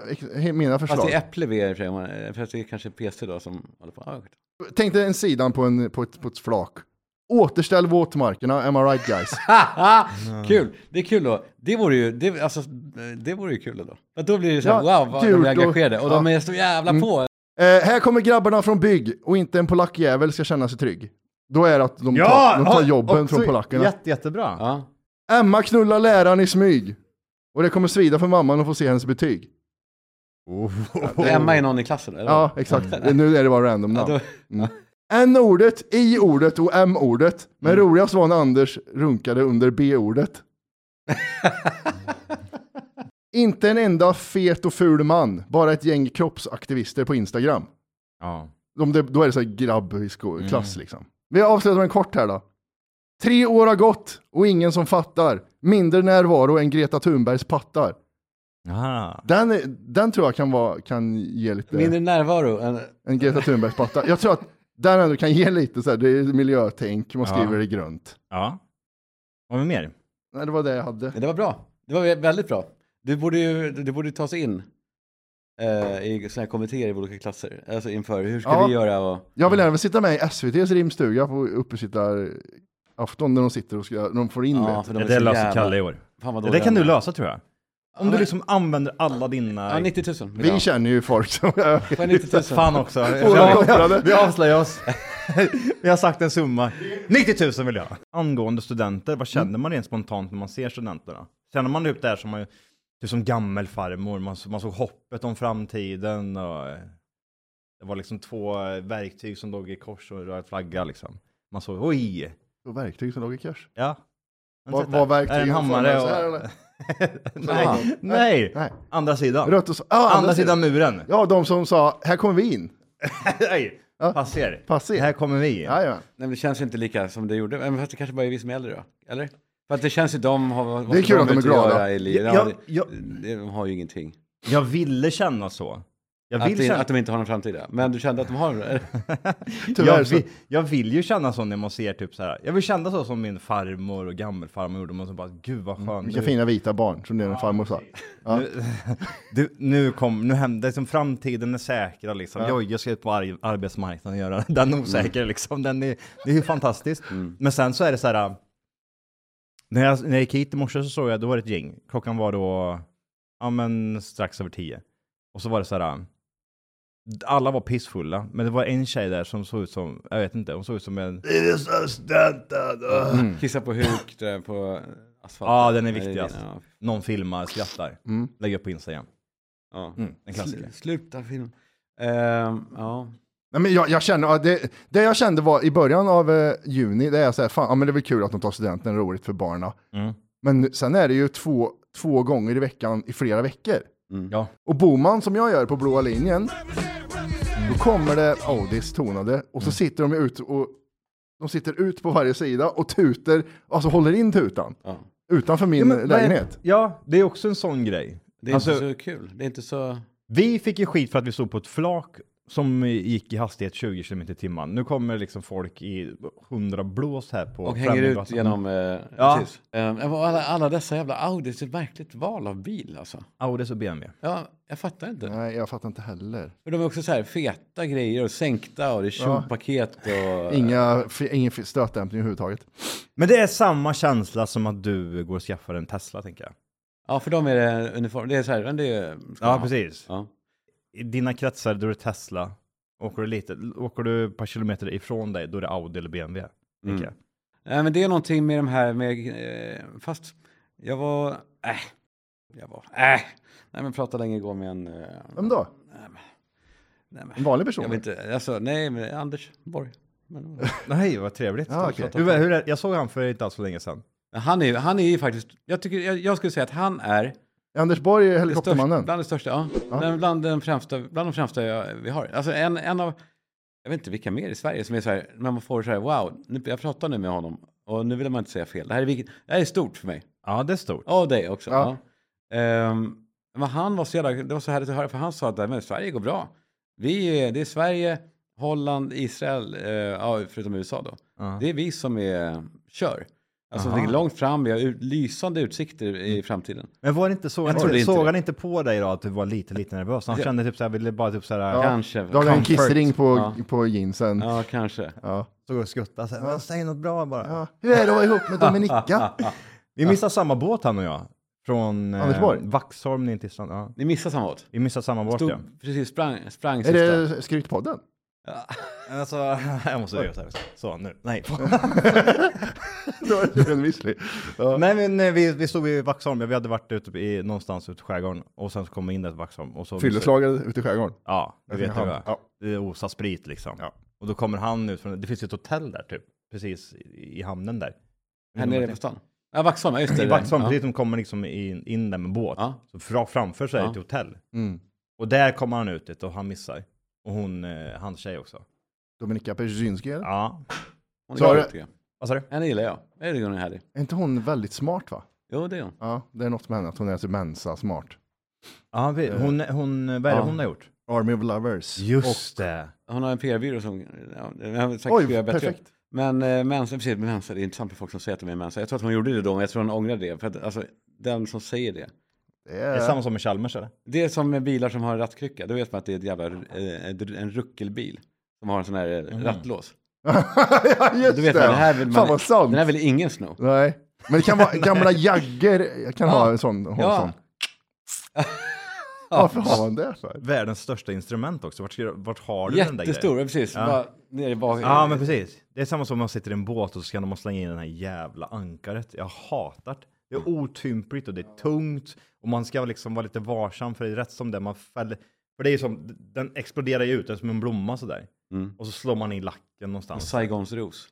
Speaker 3: mina
Speaker 4: Fast det är
Speaker 3: förslag.
Speaker 4: Apple V i och för sig, om man- eh, för att det är kanske PC då som håller på. Ah,
Speaker 3: Tänk dig en sidan på, en, på, ett, på ett flak. Återställ våtmarkerna, am I right guys? [laughs]
Speaker 4: [laughs] Kul, det är kul då. Det vore ju, det, alltså, eh, det vore ju kul då. Men då blir det så här,
Speaker 3: Ja,
Speaker 4: wow, vad
Speaker 3: kul
Speaker 4: de är
Speaker 3: och-
Speaker 4: engagerade. Och de är så jävla på.
Speaker 3: Eh, här kommer grabbarna från bygg och inte en polackjävel ska känna sig trygg. Då är det att de tar, de tar
Speaker 1: ja,
Speaker 3: jobben
Speaker 1: också
Speaker 3: från polackerna.
Speaker 1: Jätte, jättebra.
Speaker 4: Ja.
Speaker 3: Emma knullar läraren i smyg. Och det kommer svida för mamman att få se hennes betyg.
Speaker 4: Emma är någon i klassen eller?
Speaker 3: Ja, exakt. Nu är det bara random
Speaker 4: Ja,
Speaker 3: namn.
Speaker 4: då,
Speaker 3: N-ordet, I-ordet och M-ordet. Men roligast var när Anders runkade under B-ordet. Inte en enda fet och ful man, bara ett gäng kroppsaktivister på Instagram.
Speaker 1: Ja.
Speaker 3: De, det- då är det så här grabb i sko- klass liksom. Vi avslutar med en kort här då. Tre år har gått och ingen som fattar. Mindre närvaro än Greta Thunbergs pattar.
Speaker 1: Aha.
Speaker 3: Den, är- den tror jag kan, vara, kan ge lite...
Speaker 4: mindre närvaro. än-
Speaker 3: En Greta Thunbergs platta. Jag tror att där ändå kan ge lite så här, det är miljötänk, man
Speaker 1: Ja.
Speaker 3: skriver det grönt.
Speaker 1: Ja. Vad har vi mer?
Speaker 3: Nej, det var det jag hade.
Speaker 4: Men det var bra. Det var väldigt bra. Du borde ju du borde ju ta sig in eh, i sådana här kommittéer i olika klasser. Alltså inför, hur ska
Speaker 3: Ja.
Speaker 4: vi göra? Och,
Speaker 3: Jag vill gärna sitta med i SVTs rimstuga på uppesittarafton när de sitter och ska, när de får in
Speaker 4: ja,
Speaker 3: det.
Speaker 4: för de
Speaker 1: Det
Speaker 4: är
Speaker 1: där
Speaker 4: så
Speaker 1: löser
Speaker 4: jävla-
Speaker 1: Kalle i år.
Speaker 4: Fan vad
Speaker 1: Det där
Speaker 4: dåliga
Speaker 1: kan du
Speaker 4: de är.
Speaker 1: lösa tror jag. Om
Speaker 4: men-
Speaker 1: du liksom använder alla
Speaker 4: Ja,
Speaker 1: dina...
Speaker 4: 90 000.
Speaker 3: Vi känner ju folk
Speaker 1: [laughs]
Speaker 3: som...
Speaker 4: Får jag 90 000.
Speaker 1: Fan också.
Speaker 3: Båda kopplade.
Speaker 1: Vi avslöjar oss. [laughs] Vi har sagt en summa. 90 000 vill jag. Angående studenter, vad känner
Speaker 3: Mm.
Speaker 1: man rent spontant när man ser studenterna? Känner man typ det här som, man, typ som gammelfarmor, man, man såg hoppet om framtiden och eh, det var liksom två eh, verktyg som låg i kors och en röd flagga liksom. Man såg, oj!
Speaker 3: Och verktyg som låg i kurs.
Speaker 1: Ja. Har ni
Speaker 3: Vad
Speaker 1: sett
Speaker 3: var
Speaker 1: det? Är
Speaker 3: verktygen?
Speaker 1: det en hammare?
Speaker 3: Så här,
Speaker 1: Och...
Speaker 3: eller?
Speaker 1: [laughs] nej,
Speaker 3: Nej.
Speaker 1: nej.
Speaker 3: Nej.
Speaker 1: Andra sidan.
Speaker 3: Rött och så. Ah,
Speaker 1: andra, sidan muren.
Speaker 3: Ja, de som sa, här kommer vi in.
Speaker 1: [laughs] nej,
Speaker 3: Ja.
Speaker 1: passer.
Speaker 3: Passer.
Speaker 1: Här kommer vi.
Speaker 3: Jajamän.
Speaker 4: Nej, men det känns inte lika som det gjorde. Men fast det kanske bara är vi som är äldre då. Eller? För att det känns ju de har... vad
Speaker 3: Det är
Speaker 4: ska
Speaker 3: kul
Speaker 4: de
Speaker 3: att de är
Speaker 4: ut och
Speaker 3: glada.
Speaker 4: göra I livet?
Speaker 1: Ja,
Speaker 4: Ja,
Speaker 1: ja.
Speaker 4: det- De har ju ingenting.
Speaker 1: Jag ville känna så. Jag
Speaker 4: Att,
Speaker 1: vill,
Speaker 4: det,
Speaker 1: känna,
Speaker 4: att de inte har någon framtid. ja. Men du kände att de har det?
Speaker 1: jag,
Speaker 3: Tyvärr så.
Speaker 1: vill, jag vill ju känna så när man ser typ så här. Jag vill känna så som min farmor och gammelfarmor gjorde. Man så bara, gud
Speaker 4: Mm,
Speaker 1: vad skön
Speaker 3: Vilka
Speaker 1: du-
Speaker 3: fina vita barn, som din farmor sa.
Speaker 1: Nu, [laughs] du, nu kom, nu hände, liksom framtiden är säkra liksom. Jag, jag ska ut på ar- arbetsmarknaden och göra [laughs] den osäker
Speaker 3: Mm.
Speaker 1: liksom. Den är, det är ju fantastiskt. Men sen så är det så här. äh, När jag, när jag gick hit i morse så såg jag, då var det ett gäng. Klockan var då, ja men strax över tio. Och så var det så här. äh, Alla var pissfulla, men det var en tjej där som såg ut som, jag vet inte, hon såg ut som en...
Speaker 4: [laughs] Kissa på huk, det där på asfalt.
Speaker 1: Ja, den
Speaker 4: Nej, det
Speaker 1: är alltså. viktigast.
Speaker 4: din, ja.
Speaker 1: Någon filmar, skrattar.
Speaker 3: Mm.
Speaker 1: Lägger upp på Instagram.
Speaker 4: Ja.
Speaker 1: Mm, en klassiker.
Speaker 4: Sl- sluta film. Ehm, ja.
Speaker 3: Nej, men jag, jag känner, ja, det, det jag kände var i början av eh, juni, det är så här, fan, ja, men det är väl kul att de tar studenten, roligt för barna.
Speaker 1: Mm.
Speaker 3: Men sen är det ju två, två gånger i veckan i flera veckor.
Speaker 1: Ja.
Speaker 3: Och Boman som jag gör på blåa linjen, då kommer det Audis tonade och så
Speaker 1: Mm.
Speaker 3: sitter de ut och de sitter ut på varje sida och tuter, alltså håller in tutan
Speaker 4: ja.
Speaker 3: utanför min
Speaker 1: Ja, men vad är-
Speaker 3: lägenhet.
Speaker 1: Ja, det är också en sån grej.
Speaker 4: Det är
Speaker 1: Alltså-
Speaker 4: inte så kul. Det är inte så...
Speaker 1: Vi fick ju skit för att vi stod på ett flak som gick i hastighet 20 km i timmen. Nu kommer liksom folk i 100 blås här på
Speaker 4: Och hänger ut
Speaker 1: Främlinggatan.
Speaker 4: genom... Eh,
Speaker 1: Ja.
Speaker 4: precis. Ehm, alla, alla dessa jävla Audis, det är ett verkligt val av bil alltså.
Speaker 1: Audis och BMW.
Speaker 4: Ja, jag fattar inte.
Speaker 3: Nej, jag fattar inte heller.
Speaker 4: För de är också så här feta grejer och sänkta och det är tjopaket och...
Speaker 3: Inga, f- ingen f- stötdämpning överhuvudtaget.
Speaker 1: Men det är samma känsla som att du går och skaffar en Tesla, tänker jag.
Speaker 4: Ja, för dem är det uniform. Det är så här, men det är... ska man
Speaker 1: Ja,
Speaker 4: ha.
Speaker 1: precis.
Speaker 4: Ja.
Speaker 1: I dina kretsar, då är det Tesla. Åker du, lite, åker du ett par kilometer ifrån dig, då är det Audi eller BMW.
Speaker 4: Mm.
Speaker 1: Tänker jag.
Speaker 4: Nej, men det är någonting med de här med... Eh, fast jag var... Äh. Jag var... Äh. Nej, men pratade länge igår med en... Eh,
Speaker 3: Vem då?
Speaker 4: Nej, men, nej,
Speaker 3: En
Speaker 4: men,
Speaker 3: vanlig
Speaker 4: jag
Speaker 3: person?
Speaker 4: vet inte. Alltså, nej, men Anders Borg. Men,
Speaker 1: Nej, vad trevligt.
Speaker 3: Ja, okej.
Speaker 1: hur, hur, är- jag såg han för inte alls så länge sedan.
Speaker 4: han, är, han är ju faktiskt, jag, tycker, jag, jag skulle säga att han är
Speaker 3: Anders Borg är
Speaker 4: det största,
Speaker 3: helikoptermannen.
Speaker 4: bland det största, ja. Men Bland, den främsta, bland de främsta jag, vi har. Alltså en, en av, jag vet inte vilka mer i Sverige som är så här, när man får så här, wow, nu, jag pratar nu med honom och nu vill man inte säga fel. Det här är, vilket, det här är stort för mig.
Speaker 1: Ja, det är stort.
Speaker 4: Och dig också.
Speaker 3: Ja.
Speaker 4: Ja. Ehm, men han var så jävla, det var så härligt att höra, för han sa att "Nej, men Sverige går bra. Vi är, det är Sverige, Holland, Israel, eh, ja, förutom USA då. Det är vi som är, kör. Alltså
Speaker 1: Aha.
Speaker 4: det är långt fram, vi har ut, lysande utsikter i framtiden.
Speaker 1: Men var det inte så?
Speaker 4: Jag trodde inte
Speaker 1: såg
Speaker 4: det.
Speaker 1: han inte på dig då att du var lite, lite nervös? Han
Speaker 4: Ja.
Speaker 1: kände typ så här, ville bara typ så här,
Speaker 3: Ja.
Speaker 4: Kanske.
Speaker 3: Då har vi en
Speaker 1: Comfort.
Speaker 3: kissring på,
Speaker 4: Ja.
Speaker 3: på jeansen. Ja.
Speaker 4: Ja, kanske.
Speaker 1: stod och skuttade så här, "Men säg något bra bara.
Speaker 3: Hur är det att vara ihop med Dominika?
Speaker 1: Vi missade samma båt han och jag. Från eh,
Speaker 3: Anders Borg?
Speaker 1: Vaxholm ner till Strand. Ja.
Speaker 4: Ni missade samma åt.
Speaker 1: Vi missade samma båt
Speaker 4: Stod,
Speaker 1: ja.
Speaker 4: Precis, sprang, sprang
Speaker 3: är
Speaker 4: sista.
Speaker 3: det Skrytpodden? [laughs]
Speaker 1: Alltså, [laughs] jag måste göra så här. Så, nu. Nej.
Speaker 3: Då är det en visslig. Ja.
Speaker 1: Nej men eh, vi, vi stod i Vaxholm, Ja, vi hade varit ute i, någonstans ute i skärgården och sen så kom vi in där till Vaxholm. och så-
Speaker 3: Fylleslagare ute i skärgården.
Speaker 1: Ja, du vet hur det är.
Speaker 3: Ja.
Speaker 1: Det osar sprit liksom. Och då kommer han ut från, det finns ju ett hotell där typ, precis i, i hamnen där.
Speaker 4: Här nere på stan. Ja, Vaxholm, ja, just det.
Speaker 1: I Vaxholm,
Speaker 4: Ja.
Speaker 1: precis som kommer liksom in, in där med båt.
Speaker 4: Ja.
Speaker 1: Så fra, framför sig
Speaker 4: Ja.
Speaker 1: ett hotell.
Speaker 3: Mm.
Speaker 1: Och där kommer han ut dit och han missar. Och hon, eh, hans tjej också.
Speaker 3: Dominika Persinski, eller?
Speaker 1: Ja.
Speaker 4: Hon
Speaker 3: Så har
Speaker 4: är
Speaker 3: du-
Speaker 4: glad, tycker jag.
Speaker 1: Vad sa du?
Speaker 4: Henne gillar jag. Jag tycker hon är härlig.
Speaker 3: Är inte hon väldigt smart, va?
Speaker 4: Jo, det är hon.
Speaker 3: Ja, det är något med henne, att hon är så mensa-smart.
Speaker 1: Ja, vi, hon, hon, vad är det
Speaker 4: Ja.
Speaker 1: hon har gjort?
Speaker 3: Army of Lovers.
Speaker 1: Just det.
Speaker 4: Hon har en PR-byrå som... Ja, jag har sagt
Speaker 3: Oj,
Speaker 4: PR bättre.
Speaker 3: perfekt.
Speaker 4: Men eh, mensa, precis, men mensa, det är intressant för folk som säger att de är mensa. Jag tror att hon gjorde det då, men jag tror hon ångrar det. För att, alltså, den som säger det.
Speaker 3: Det
Speaker 1: Är
Speaker 3: är...
Speaker 1: det samma som med Chalmers eller?
Speaker 4: Det är som med bilar som har rattkrycka. Då vet man att det är ett jävla, eh, ett- en ruckelbil. Som har en sån här eh, rattlås.
Speaker 3: ja, just
Speaker 4: Du vet,
Speaker 3: det.
Speaker 4: man, det här vill man,
Speaker 3: Mm. Fan vad sant.
Speaker 4: Den här vill ingen sno.
Speaker 3: Nej. Men det kan vara gamla jagger. Jag kan ha en sån. Ha en
Speaker 4: Ja.
Speaker 3: sån. Varför har man det för?
Speaker 1: Världens största instrument också. Vart, ska- vart har du den där grejen?
Speaker 4: Jättestor, ja, precis. Bara nere i bak.
Speaker 1: Ja, men precis. Det är samma som om man sitter i en båt och så ska man slänga in det här jävla ankaret. Jag hatar det. Det
Speaker 4: Mm.
Speaker 1: är otympligt och det är tungt och man ska liksom vara lite varsam för det är rätt som det man fäller. För det är ju som, den exploderar ju ut, den är som en blomma sådär.
Speaker 4: Mm.
Speaker 1: Och så slår man i lacken någonstans.
Speaker 4: Saigons ros.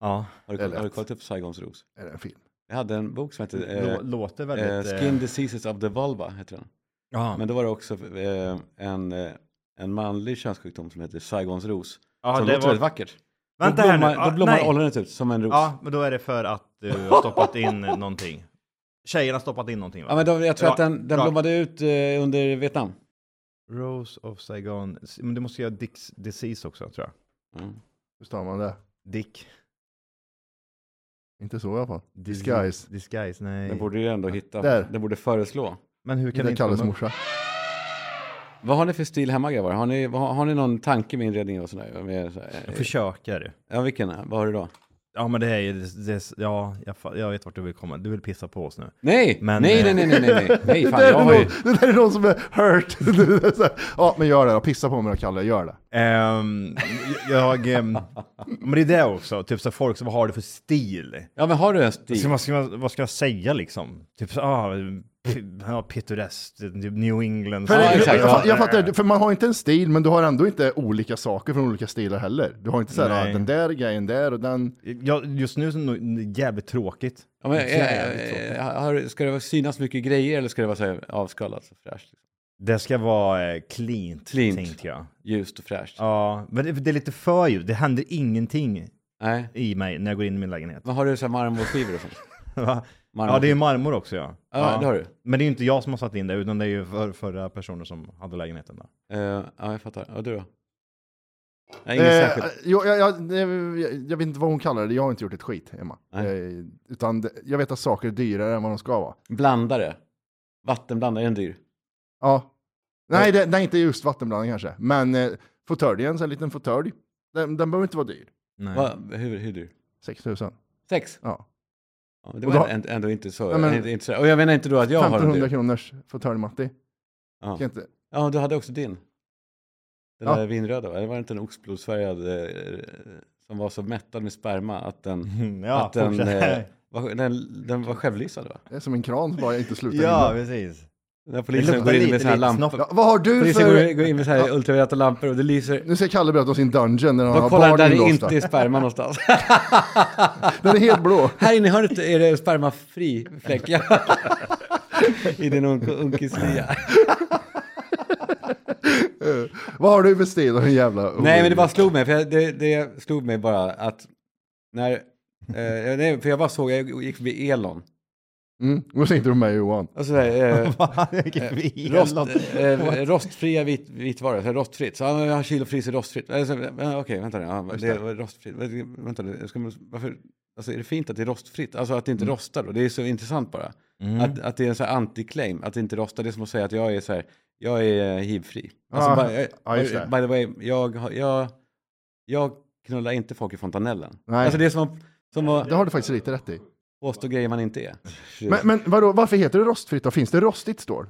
Speaker 1: Ja,
Speaker 4: Har
Speaker 3: Det är
Speaker 4: du, har du
Speaker 3: lätt.
Speaker 4: kollat upp Saigons ros?
Speaker 3: Är det en film?
Speaker 4: Jag hade en bok som hette eh,
Speaker 1: Lå- låter
Speaker 4: eh,
Speaker 1: väldigt... eh,
Speaker 4: Skin Diseases of the Vulva. Heter den.
Speaker 1: ja.
Speaker 4: Men då var det också eh, en, eh, en manlig könssjukdom som heter Saigons ros.
Speaker 1: Ja,
Speaker 4: som
Speaker 1: det
Speaker 4: låter
Speaker 1: var-
Speaker 4: väldigt vackert.
Speaker 1: Vänta
Speaker 4: då
Speaker 1: här nu.
Speaker 4: blommar,
Speaker 1: Ah,
Speaker 4: Då blommar
Speaker 1: nej.
Speaker 4: ollonet ut som en ros. Ja,
Speaker 1: ja, men då är det för att du har stoppat in någonting. Tjejerna har stoppat in någonting va?
Speaker 4: men då, jag tror
Speaker 1: Ja,
Speaker 4: att den, den
Speaker 1: bra.
Speaker 4: blommade ut eh, under Vietnam.
Speaker 1: Rose of Saigon. Men du måste göra Dicks disease också tror jag.
Speaker 4: Mm.
Speaker 3: Hur stavar man det?
Speaker 1: Dick.
Speaker 3: Inte så i alla fall. Disguise.
Speaker 1: Disguise, nej.
Speaker 4: Den borde ju ändå hitta,
Speaker 3: Där.
Speaker 4: den borde föreslå.
Speaker 1: Men hur kan
Speaker 3: Det
Speaker 1: det
Speaker 3: är
Speaker 1: inte...
Speaker 3: Kalles
Speaker 1: komma-
Speaker 3: morsa.
Speaker 4: Vad har ni för stil hemma grabbar? Har ni, vad har, har ni någon tanke med inredningen och sådär? Med, så här,
Speaker 1: Jag
Speaker 4: eh,
Speaker 1: försöker.
Speaker 4: ja, vilken? Vad har du då?
Speaker 1: Ja men det är ju, det, det, ja jag, fa- jag vet vart du vill komma. Du vill pissa på oss nu.
Speaker 4: Nej!
Speaker 1: Men,
Speaker 4: nej, nej,
Speaker 1: eh,
Speaker 4: nej, nej, nej,
Speaker 1: [laughs]
Speaker 4: nej, nej, fan,
Speaker 3: det, där
Speaker 4: jag
Speaker 3: är
Speaker 4: har ju...
Speaker 3: någon, det där är någon som är hurt. [laughs] Det är så här, ja, men gör det då. Pissa på mig då, Kalle. Gör det.
Speaker 1: Ehm,
Speaker 4: [laughs]
Speaker 1: jag, ehm, men det är det också, typ så här, folk som vad har du för stil?
Speaker 4: Ja, men har du en stil?
Speaker 1: Så vad, ska man, vad ska jag säga liksom? Typ så, ah, p- ja, pittoreskt, typ New England.
Speaker 3: För,
Speaker 4: Ja,
Speaker 1: Så-
Speaker 4: exakt.
Speaker 3: jag, fa- jag
Speaker 1: Ja.
Speaker 3: fattar, för man har inte en stil, men du har ändå inte olika saker från olika stilar heller. Du har inte så här,
Speaker 1: Nej.
Speaker 3: ah, den där grejen där och den.
Speaker 1: Jag, just nu så är det nog jävligt tråkigt.
Speaker 4: Ja, men, eh,
Speaker 1: Jävligt tråkigt.
Speaker 4: eh, har, ska det vara- synas mycket grejer eller ska det vara så här avskalat och fräscht? Liksom?
Speaker 1: Det ska vara eh, cleant,
Speaker 4: Cleant.
Speaker 1: tänkte jag.
Speaker 4: Ljust och fräscht?
Speaker 1: Ja, men det, det är lite för ju. Det händer ingenting
Speaker 4: Nej.
Speaker 1: i mig när jag går in i min lägenhet.
Speaker 4: Men har du så här marmorskivor och sånt?
Speaker 1: [laughs] Va?
Speaker 4: Marmor.
Speaker 1: ja, det är marmor också ja.
Speaker 4: Ja, det har du.
Speaker 1: Men det är ju inte jag som har satt in det, utan det är ju för, förra personer som hade lägenheten där.
Speaker 4: Eh, ja, jag fattar. Ja, du då? Nej, inget
Speaker 3: Eh,
Speaker 4: särskilt.
Speaker 3: jo, jag, jag, jag, jag vet inte vad hon kallar det, jag har inte gjort ett skit, Emma.
Speaker 4: Nej.
Speaker 3: Eh, utan det, jag vet att saker är dyrare än vad de ska vara.
Speaker 4: Blandare. Vattenblandare, är den dyr?
Speaker 3: Ja. Nej, det, nej inte just vattenblandning kanske, men eh, fåtöljen, så en liten fåtölj, den, den behöver inte vara dyr.
Speaker 1: Nej.
Speaker 4: Va, hur, hur dyr?
Speaker 3: 6 000.
Speaker 4: Sex?
Speaker 3: Ja.
Speaker 4: Ja, det
Speaker 3: Och då-
Speaker 4: var ändå, ändå inte så.
Speaker 3: Nej, men-
Speaker 4: inte- inte så. Och jag menar inte då att jag har en
Speaker 3: 1500
Speaker 4: dyr.
Speaker 3: kronors fåtölj, Matti.
Speaker 4: Ja.
Speaker 3: Kan inte...
Speaker 4: ja, du hade också din. Den
Speaker 3: Ja.
Speaker 4: där vinröda, va? Det var inte en oxblodsfärgad eh, som var så mättad med sperma att den,
Speaker 1: [laughs]
Speaker 3: [laughs]
Speaker 1: Ja,
Speaker 4: att den,
Speaker 1: fortsätt.
Speaker 4: eh, var, den, den var självlysande va?
Speaker 3: Det är som en kran som bara inte slutar
Speaker 1: [laughs] ja,
Speaker 3: rinna.
Speaker 1: precis. [laughs]
Speaker 4: När
Speaker 1: Det
Speaker 4: polisen
Speaker 1: luktar
Speaker 4: går in
Speaker 1: lite,
Speaker 4: med såna här
Speaker 1: lite
Speaker 4: lampor.
Speaker 1: snopp.
Speaker 3: Ja, vad har du
Speaker 4: Polisen
Speaker 3: för...
Speaker 4: går, går in med så här ultravioletta lampor och det lyser.
Speaker 3: Nu ser Kalle berätta om sin dungeon när han
Speaker 4: De
Speaker 3: har
Speaker 4: kollar där
Speaker 3: barn
Speaker 4: det
Speaker 3: inlåsta.
Speaker 4: inte är sperma någonstans. [laughs]
Speaker 3: Den är helt blå.
Speaker 4: här inne i hörnet är det spermafri
Speaker 1: [laughs]
Speaker 4: fläck. Ja. I din unk unkislia.
Speaker 3: Vad har du för stil och en jävla...
Speaker 4: Nej, men det bara slog mig. För jag, det, det slog mig bara att när... Eh, nej, för jag bara såg, jag gick förbi Elon.
Speaker 3: Mm, och så inte du med Johan.
Speaker 4: Och så
Speaker 1: [laughs]
Speaker 4: där, eh,
Speaker 3: [laughs]
Speaker 1: Vilken
Speaker 4: Rost,
Speaker 1: fel.
Speaker 4: eh, rostfria vit, vitvaror, så här rostfritt. Så han har kilofryser rostfritt. Eh, så, eh, Okej, vänta nu. Ja, det är rostfritt. Vä- Vänta nu. Ska man, varför, alltså, är det fint att det är rostfritt? Alltså att det
Speaker 3: Mm.
Speaker 4: inte rostar då? Det är så intressant bara. Att, att det är en så här anti-claim, att det inte rostar. Det är som att säga att jag är så här, jag är eh, hivfri. Alltså,
Speaker 3: Ah,
Speaker 4: bara, eh,
Speaker 3: ja, just det.
Speaker 4: by the way, jag, har- jag, jag knullar inte folk i fontanellen.
Speaker 3: Nej.
Speaker 4: Alltså det är som att, som att
Speaker 3: Det har du faktiskt lite rätt i.
Speaker 4: påstå grejer man inte är.
Speaker 3: Men, men vadå, varför heter det rostfritt då? Finns det rostigt stål?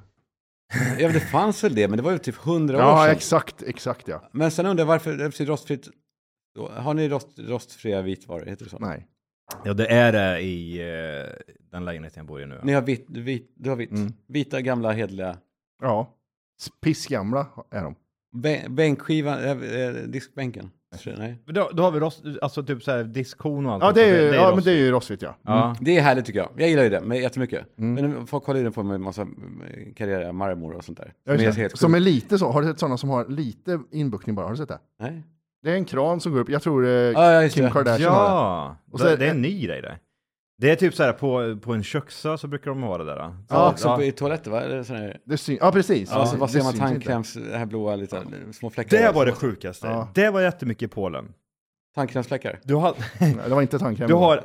Speaker 4: Ja, men det fanns väl det, men det var ju typ hundra år
Speaker 3: Ja,
Speaker 4: sedan.
Speaker 3: exakt, exakt ja.
Speaker 4: Men sen undrar jag varför, eftersom rostfritt, då- har ni rost, rostfria vitvaror, heter det så?
Speaker 3: Nej.
Speaker 1: Ja, det är det i eh, den lägenheten jag bor i nu.
Speaker 4: Ni har vitt, vit, du har vitt,
Speaker 3: Mm.
Speaker 4: vita gamla hederliga,
Speaker 3: Ja. Pissgamla är de.
Speaker 4: Bä- bänkskivan, äh, äh, diskbänken? Nej.
Speaker 1: Då, då har vi rost, alltså typ såhär diskhon och allt.
Speaker 3: Ja, det är, ju- ja men
Speaker 1: rost.
Speaker 3: det är ju rostfritt ja.
Speaker 1: Ja.
Speaker 4: Det är härligt tycker jag, jag gillar ju det men jättemycket.
Speaker 3: Mm.
Speaker 4: Men folk håller ju på med massa eh, karriära marmor och sånt där.
Speaker 3: Ja, just
Speaker 4: är
Speaker 3: det.
Speaker 4: helt
Speaker 3: som
Speaker 4: sjukt.
Speaker 3: är lite så. Har du sett sådana som har lite inbuktning bara? Har du sett det?
Speaker 4: Nej.
Speaker 3: Det är en kran som går upp. Jag tror eh,
Speaker 4: Ja, ja, just
Speaker 3: Kim
Speaker 4: det.
Speaker 3: Kardashian har det.
Speaker 1: Ja,
Speaker 3: Och
Speaker 1: och
Speaker 3: så
Speaker 1: det,
Speaker 3: är-
Speaker 1: det är en ny grej det. Det är typ så här på, på en köksö så brukar de ha det där. då. Så,
Speaker 4: Ja, också på- i toaletter va? Eller sån här.
Speaker 3: det syn- ja, precis.
Speaker 4: Ja, så bara ser
Speaker 3: det
Speaker 4: man
Speaker 3: syns inte.
Speaker 4: tandkräms, det här blåa lite, eh, små fläckar.
Speaker 1: Det var det sjukaste.
Speaker 3: Ja.
Speaker 1: Det var jättemycket i Polen.
Speaker 4: Tandkrämsfläckar.
Speaker 1: Du har,
Speaker 3: Nej, Det var inte tandkräm.
Speaker 1: du har,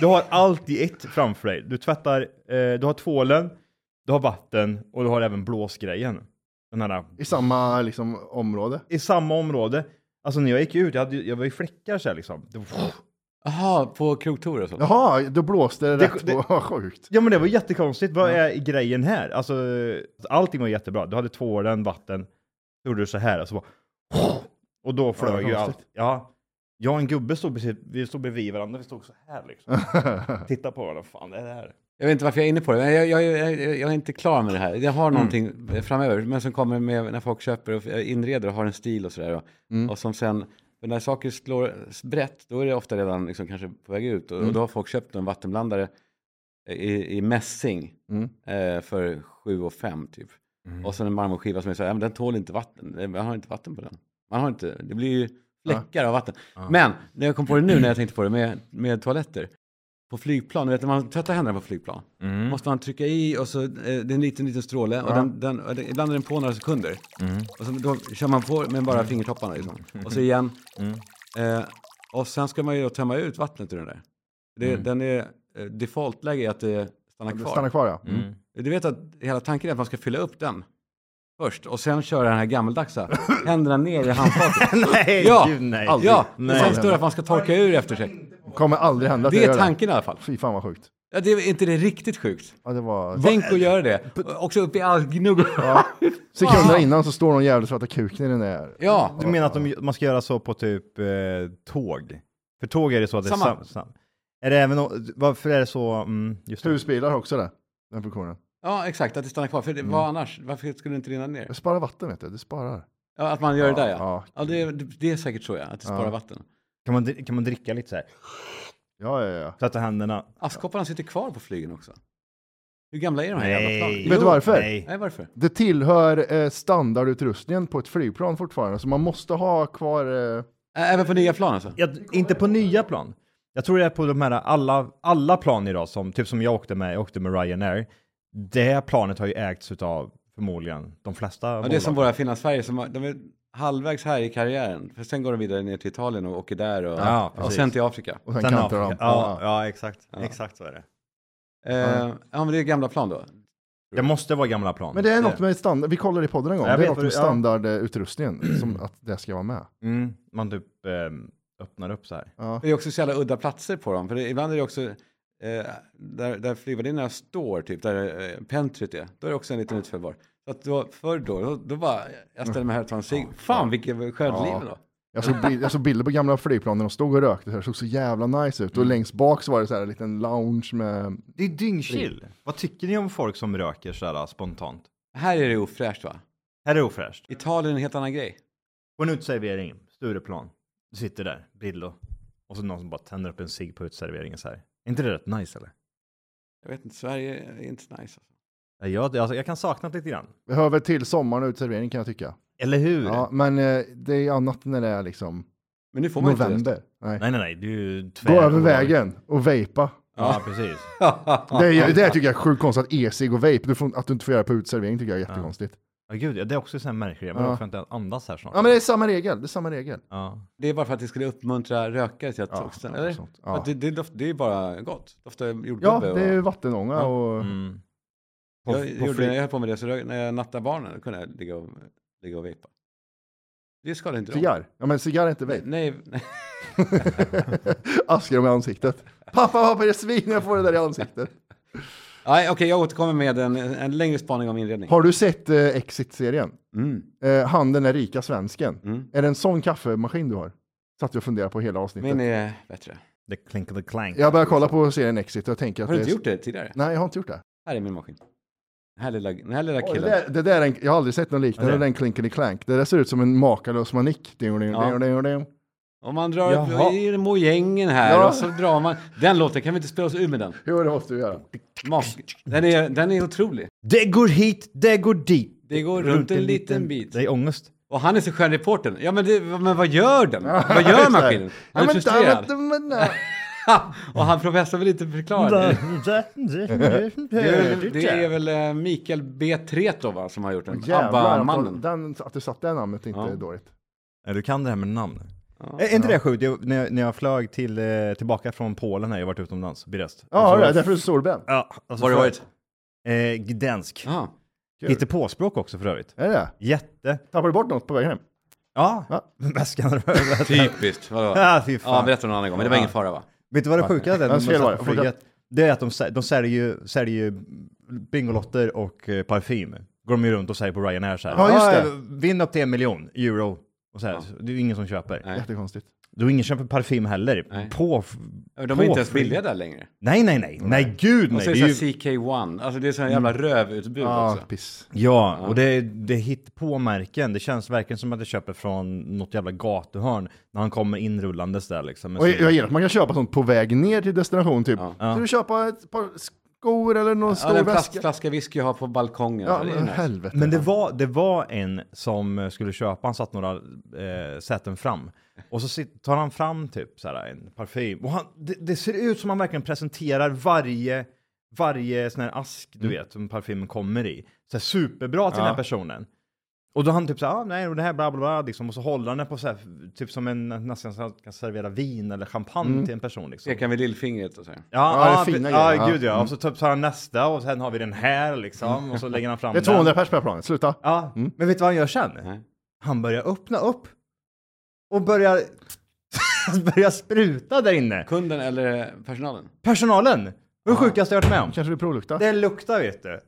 Speaker 1: du har allt i ett framför dig. Du tvättar, eh, du har tvålen, du har vatten och du har även blåsgrejen. Den här
Speaker 3: I samma liksom, område.
Speaker 1: i samma område. Alltså när jag gick ut, jag, hade, ju- jag var ju fläckar så här liksom. Det,
Speaker 4: Jaha, på krogtour och sånt?
Speaker 3: Jaha, då blåste det
Speaker 1: Det-
Speaker 3: rätt
Speaker 1: det-
Speaker 3: på. [laughs] Vad sjukt.
Speaker 1: ja men det var jättekonstigt. Vad är grejen här? Alltså allting var jättebra. Du hade tvålen, vatten, så gjorde du så här och så bara, och då flög ju allt.
Speaker 3: konstigt.
Speaker 1: Ja. Jag och en gubbe stod precis, vi stod bredvid varandra, vi stod så här liksom. Titta på varandra, fan det är det här.
Speaker 4: Jag vet inte varför jag är inne på det, men jag, jag, jag, jag är inte klar med det här. Jag har någonting framöver, men som kommer med när folk köper och eh, inreder och har en stil och sådär. Och, och som sen, för när saker slår brett, då är det ofta redan liksom kanske på väg ut. Och, och då har folk köpt en vattenblandare i, i mässing eh, för 7 och 5 typ. Och sen en marmorskiva som är så här, ja, men den tål inte vatten, man har inte vatten på den. Man har inte, det blir ju fläckar av vatten. Men, när jag kom på det nu när jag tänkte på det med, med toaletter på flygplan, du vet när man tvättar händerna på flygplan,
Speaker 1: Mm.
Speaker 4: måste man trycka i och så, eh, det är en liten, liten stråle och den, den, och det- ibland är den på några sekunder. Och så då kör man på med bara fingertopparna liksom. Och så igen. Eh, och sen ska man ju då tömma ut vattnet ur den där. Det, Den är, eh, defaultläge är att det stannar
Speaker 3: Det
Speaker 4: kvar.
Speaker 3: stannar kvar ja.
Speaker 4: Du vet att hela tanken är att man ska fylla upp den först och sen köra den här gammeldagsa, händerna ner i handfatet.
Speaker 1: [laughs] nej,
Speaker 4: ja,
Speaker 1: gud nej.
Speaker 3: aldrig.
Speaker 4: ja, och
Speaker 1: Nej.
Speaker 4: sen står det att man ska torka ur efter sig.
Speaker 3: Kommer aldrig hända att
Speaker 4: Det
Speaker 3: jag
Speaker 4: är
Speaker 3: gör
Speaker 4: tanken i alla fall.
Speaker 3: Fy fan vad sjukt.
Speaker 4: Ja, det är inte det riktigt sjukt?
Speaker 3: Ja, det var...
Speaker 4: Tänk att göra det. Också upp i all gnugg. Ja.
Speaker 3: Sekunder innan så står någon jävla svarta kuken i den där.
Speaker 1: Du menar att de, man ska göra så på typ eh, tåg? För tåg är det så att det
Speaker 4: Samma.
Speaker 1: är sam, sam. Är det även, o- varför är det så, mm, just det.
Speaker 3: Husbilar har också det. Den funktionen.
Speaker 4: ja, exakt. Att det stannar kvar. För det, vad annars? Varför skulle det inte rinna ner?
Speaker 3: Det sparar vatten vet du. Det sparar.
Speaker 4: Ja, att man gör det där ja.
Speaker 3: Ja.
Speaker 4: ja. det, det är säkert så ja, att det sparar vatten.
Speaker 1: Kan man, dri- kan man dricka lite så här?
Speaker 3: Ja, ja, ja.
Speaker 1: Tvätta händerna?
Speaker 4: Askkopparna sitter kvar på flygen också. Hur gamla är de här jävla planen?
Speaker 3: Vet du varför?
Speaker 1: Nej.
Speaker 4: Nej, varför?
Speaker 3: Det tillhör eh, standardutrustningen på ett flygplan fortfarande. Så man måste ha kvar... Eh...
Speaker 4: Ä- Även på nya plan alltså?
Speaker 1: Jag, inte på nya plan. Jag tror det är på de här alla, alla plan idag, som, typ som jag åkte med, jag åkte med Ryanair. Det planet har ju ägts utav förmodligen de flesta
Speaker 4: Ja, det är som våra Finland-Sverige, som har- de är halvvägs här i karriären. För sen går de vidare ner till Italien och åker där och,
Speaker 1: Ja,
Speaker 4: och
Speaker 1: precis.
Speaker 4: sen till Afrika.
Speaker 3: Och sen,
Speaker 1: Sen
Speaker 3: kantar
Speaker 1: Afrika.
Speaker 3: de.
Speaker 1: Ja, ja, exakt. Exakt så är det.
Speaker 4: Eh, ja, men det är gamla plan då.
Speaker 1: Det måste vara gamla plan.
Speaker 3: Men det är något med standard. Vi kollade i podden en gång.
Speaker 1: Jag
Speaker 3: det är
Speaker 1: vet
Speaker 3: något
Speaker 1: vad
Speaker 3: med
Speaker 1: du- ja.
Speaker 3: standardutrustningen. Som att det ska vara med.
Speaker 1: Mm, man typ eh, öppnar upp så här.
Speaker 3: Ja.
Speaker 4: Men Det är också så jävla udda platser på dem. För det, ibland är det också eh, där, där flygvärdinnorna står, typ där eh, pentryt är. Då är det också en liten utförbar. Så att då, förr då, då, då bara, jag ställer mig här och tar en cigg. Fan vilket skönt liv då.
Speaker 3: Jag, såg bild, jag såg bilder på gamla flygplan när de stod och rökte. Så här, Det såg så jävla nice ut. Och längst bak så var det så här en liten lounge med...
Speaker 1: Det är dyngchill. Vad tycker ni om folk som röker så här äh, spontant?
Speaker 4: Här är det ofräscht va?
Speaker 1: Här är ofräscht.
Speaker 4: Italien är en helt annan grej.
Speaker 1: På en uteservering, Stureplan. Du sitter där, Brillo. Och så någon som bara tänder upp en cigg på uteserveringen så här. Är inte det rätt nice eller?
Speaker 4: Jag vet inte, Sverige är inte nice. Alltså.
Speaker 1: Ja, Jag, alltså, jag kan sakna det lite grann.
Speaker 3: Vi hör väl till sommaren och uteservering kan jag tycka.
Speaker 1: Eller hur?
Speaker 3: Ja, men eh, det är annat när det är liksom
Speaker 4: Men nu får man inte
Speaker 3: november. Nej.
Speaker 1: Nej, nej, nej. Du tvär.
Speaker 3: Gå över vägen och vejpa.
Speaker 1: Ja, precis.
Speaker 3: Det, är, det här tycker jag är sjukt konstigt, att e-cigg och vape, du får, att du inte får göra på uteservering tycker jag är jättekonstigt.
Speaker 1: Ja, gud, ja, det är också en sån här märklig grej. Man
Speaker 3: Ja.
Speaker 1: får inte andas här snart.
Speaker 3: Ja, men det är samma regel, det är samma regel.
Speaker 1: Ja.
Speaker 4: Det är bara för att det skulle uppmuntra rökare till att
Speaker 3: Ja,
Speaker 4: också,
Speaker 3: ja,
Speaker 4: eller?
Speaker 3: sånt.
Speaker 4: För att
Speaker 3: Ja.
Speaker 4: Det, det, doft, det är bara gott. Doftar jordgubbe.
Speaker 3: Ja, det är ju
Speaker 4: och,
Speaker 3: vattenånga och...
Speaker 1: Mm. På,
Speaker 4: jag,
Speaker 1: på
Speaker 4: gjorde,
Speaker 1: flyg...
Speaker 4: jag höll på med det, så rö- när jag nattade barnen kunde jag ligga och, ligga och vejpa. Det skadar inte dem.
Speaker 3: Cigarr? Ja men cigarr är inte vape. [laughs]
Speaker 4: Nej, nej. [laughs]
Speaker 3: Askar dem i ansiktet. Pappa, pappa, är det svin jag får det där i ansiktet?
Speaker 4: Nej, okej, jag återkommer med en, en längre spaning om inredning.
Speaker 3: Har du sett eh, Exit-serien?
Speaker 4: Mm.
Speaker 3: Eh, han den där rika svensken.
Speaker 4: Mm.
Speaker 3: Är det en sån kaffemaskin du har? Satt jag och funderade på hela avsnittet.
Speaker 4: Min är bättre.
Speaker 1: The clink of the clank.
Speaker 3: Jag börjar kolla på serien Exit och jag tänker att
Speaker 4: Har du
Speaker 3: det
Speaker 4: inte
Speaker 3: är...
Speaker 4: gjort det tidigare?
Speaker 3: Nej, jag har inte gjort det.
Speaker 4: Här är min maskin. Den här lilla, den här lilla
Speaker 3: Oj, det,
Speaker 4: killen.
Speaker 3: där, det där är en, jag har aldrig sett någon liknande.
Speaker 1: Ja,
Speaker 3: Det
Speaker 1: det-
Speaker 3: är en klinkelig klank. Det där ser ut som en makalös manick. Ding, ding,
Speaker 4: Ja.
Speaker 3: ding, ding, ding.
Speaker 4: Om man drar
Speaker 1: Jaha.
Speaker 4: upp i mojängen här
Speaker 3: Ja.
Speaker 4: och så drar man. Den låten kan vi inte spela oss ur med den.
Speaker 3: Jo, det måste du göra.
Speaker 4: Mak- Den är, den är otrolig.
Speaker 1: Det går hit, det går dit.
Speaker 4: Det går runt, en liten bit.
Speaker 1: Det är ångest.
Speaker 4: Och han är så skön reportern. Ja men, det, men vad gör den?
Speaker 3: [laughs]
Speaker 4: Vad gör maskinen? Han är
Speaker 3: Ja, men- ja, men-
Speaker 4: frustrerad. [laughs]
Speaker 3: men- nej.
Speaker 4: och han professor vill inte förklara det. Det är, väl, det är väl eh, Mikael B. Tretova som har gjort den.
Speaker 3: Jävlar, att,
Speaker 4: ABBA-mannen.
Speaker 3: den, att du satte det namnet är inte
Speaker 4: Ja.
Speaker 3: dåligt.
Speaker 1: Ja, [laughs] du kan det här med namn. Är inte det sjukt? Jag, när, jag, när jag flög till, eh, tillbaka från Polen här, jag har varit utomlands, Birest.
Speaker 3: Ja, det är därför du är solbränd.
Speaker 1: Ja, alltså,
Speaker 4: Var har du varit?
Speaker 1: Eh, Gdansk.
Speaker 4: Ah.
Speaker 3: Kul.
Speaker 1: Lite påspråk också för övrigt.
Speaker 3: Är det det?
Speaker 1: Jätte.
Speaker 3: Tappar du bort något på vägen hem?
Speaker 1: Ja,
Speaker 3: Ja.
Speaker 1: [laughs] väskan rör
Speaker 4: Typiskt. Vadå?
Speaker 1: [laughs] Ja, fy fan.
Speaker 4: Ja, berätta någon annan gång. Men det var
Speaker 1: Ja.
Speaker 4: ingen fara va?
Speaker 1: Vet du vad det sjuka är? när man
Speaker 3: fel
Speaker 1: satt
Speaker 3: var det.
Speaker 1: på flyget? Det är att de, sä- de säljer, ju, säljer ju Bingolotter och eh, parfym. Går de ju runt och säger på Ryanair så här.
Speaker 3: Ja, just det.
Speaker 1: "Ah, Vinn upp till en miljon euro. Och så här, så Det är ju ingen som köper.
Speaker 4: Nej.
Speaker 3: Jättekonstigt.
Speaker 1: Då är ingen köper parfym heller.
Speaker 4: Nej.
Speaker 1: På... f-
Speaker 4: De är inte
Speaker 1: på
Speaker 4: ens
Speaker 1: flyg-
Speaker 4: billiga där längre.
Speaker 1: Nej, nej, nej. Nej, gud
Speaker 4: Och
Speaker 1: nej.
Speaker 4: så är
Speaker 1: Det
Speaker 4: det
Speaker 1: är Mm. ju...
Speaker 4: såhär CK1. Alltså det är såhär jävla rövutbud
Speaker 3: Ja,
Speaker 4: också.
Speaker 3: Ah, piss.
Speaker 1: Ja, och det, det hittar på märken. Det känns verkligen som att det köper från något jävla gatuhörn. När han kommer inrullandes där liksom. med
Speaker 3: Och jag,
Speaker 1: sin-
Speaker 3: jag gillar att man kan köpa sånt på väg ner till destination typ.
Speaker 4: Ja.
Speaker 3: Ska du köpa ett par skor eller någon
Speaker 4: Ja,
Speaker 3: stor
Speaker 4: den plast,
Speaker 3: väska?
Speaker 4: flaska whisky jag har på balkongen.
Speaker 3: Ja,
Speaker 4: så det är
Speaker 3: men
Speaker 4: nice.
Speaker 3: helvete.
Speaker 1: Men det var, det var en som skulle köpa, han satt några eh, säten fram. Och så sit- tar han fram typ så här, en parfym. Och han, det, det ser ut som han verkligen presenterar varje, varje sån här ask,
Speaker 3: Mm.
Speaker 1: du vet, som parfymen kommer i. Så här, superbra till den här personen. Och då han typ så här, ah, nej, och det här bla bla bla, liksom. Och så håller han det på så här, typ som en, nästan så att han kan servera vin eller champagne till en person liksom.
Speaker 4: Pekar med lillfingret och så. här.
Speaker 1: Ja,
Speaker 3: Mm. Ja, det är
Speaker 1: ja,
Speaker 3: fina
Speaker 1: pre-
Speaker 3: grejer,
Speaker 1: ja,
Speaker 3: ja. Mm.
Speaker 1: gud ja. Och så typ tar han nästa och sen har vi den här liksom. Och så lägger han fram
Speaker 3: Det är
Speaker 1: den.
Speaker 3: 200 pers på det här planet, sluta.
Speaker 1: Ja, men vet du vad han gör sen?
Speaker 4: Nej.
Speaker 1: Han börjar öppna upp och börjar, [laughs] börjar spruta där inne.
Speaker 4: Kunden eller personalen?
Speaker 1: Personalen! Det var det sjukaste jag varit med om.
Speaker 3: Kanske du provluktar?
Speaker 1: Det luktar vet du.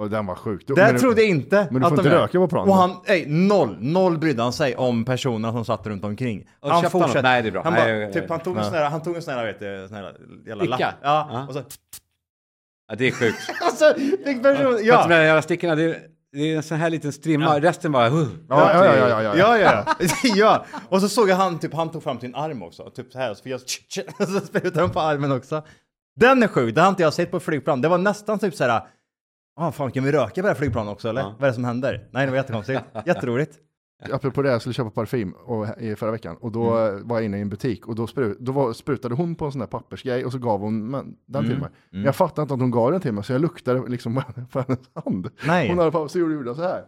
Speaker 3: Och den var sjuk.
Speaker 1: Det
Speaker 3: Men-
Speaker 1: trodde jag inte
Speaker 3: men du får
Speaker 1: att de
Speaker 3: inte
Speaker 1: gör.
Speaker 3: röka på planen.
Speaker 1: Och han, nej, noll, noll brydde han sig om personerna som satt runt omkring.
Speaker 4: Och
Speaker 1: han
Speaker 4: köpte han något? Nej, det är bra.
Speaker 1: Han,
Speaker 4: Nej,
Speaker 1: bara,
Speaker 4: jag- jag-
Speaker 1: typ, han tog en sån här, han tog en sån här, vet du, sån här jävla
Speaker 4: Sticka?
Speaker 1: lapp.
Speaker 4: Ja.
Speaker 1: Ja, och så, [laughs]
Speaker 4: Ja, det är sjukt.
Speaker 1: och så fick personen,
Speaker 4: För att
Speaker 1: [laughs] ja.
Speaker 4: de där jävla stickorna, det är, det är en sån här liten strimma. Resten bara... Uh,
Speaker 3: Ja, ja, ja, ja, ja, ja.
Speaker 1: Ja, ja, ja. [laughs] ja. Och så såg jag han, typ, han tog fram sin arm också. Typ så här, så fick jag... [laughs] Och så sprutade han på armen också. Den är sjuk, det har inte jag sett på flygplan. Det var nästan typ så här... Ah, fan, kan vi röka på det här flygplanet också eller? Vad är det som händer? Nej, det var jättekonstigt. Jätteroligt.
Speaker 3: Apropå det, jag skulle köpa parfym och, i förra veckan och då eh,
Speaker 4: Mm.
Speaker 3: var jag inne i en butik och då, spru, då var, sprutade hon på en sån där pappersgrej och så gav hon men, den
Speaker 4: Mm.
Speaker 3: till mig. Jag fattade inte att hon gav den till mig så jag luktade liksom på hennes hand.
Speaker 1: Nej.
Speaker 3: Hon hade på, så gjorde jag så här.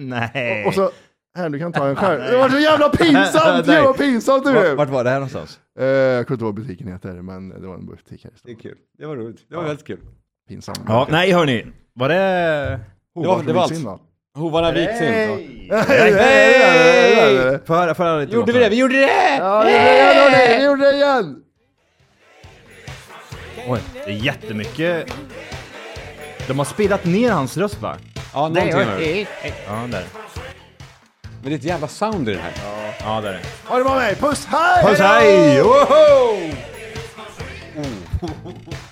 Speaker 1: Nej.
Speaker 3: Och så, här du kan ta en
Speaker 1: [laughs]
Speaker 3: själv. Det var så jävla pinsamt!
Speaker 1: Nej.
Speaker 3: Jävla vad pinsamt du
Speaker 1: Vart,
Speaker 3: är!
Speaker 1: vart var det här någonstans?
Speaker 3: Eh, Jag kommer inte ihåg vad butiken heter, men det var en butik här i
Speaker 4: det är
Speaker 3: stan.
Speaker 4: kul. Det var roligt. Det var väldigt kul.
Speaker 3: Pinsam.
Speaker 1: Ja, nej hörni. Var det... alltså-
Speaker 3: Oh,
Speaker 4: det var- det
Speaker 3: varför
Speaker 4: var
Speaker 3: vill synd,
Speaker 4: Hovarna viks in.
Speaker 1: Nej!
Speaker 3: Hej!
Speaker 1: Får jag- får jag höra lite
Speaker 4: Gjorde vi
Speaker 1: låtar?
Speaker 4: det? Vi gjorde det!
Speaker 3: Ja, vi gjorde det igen, hörni! Vi gjorde det igen!
Speaker 1: Oj, det är jättemycket... De har spelat ner hans röst va?
Speaker 4: Ja, någonting var det.
Speaker 1: Ja, där.
Speaker 4: Men det är ett jävla sound i den här.
Speaker 1: Ja, där är det.
Speaker 3: Ha det bra med mig, puss, hej!
Speaker 1: Puss hej! Woho!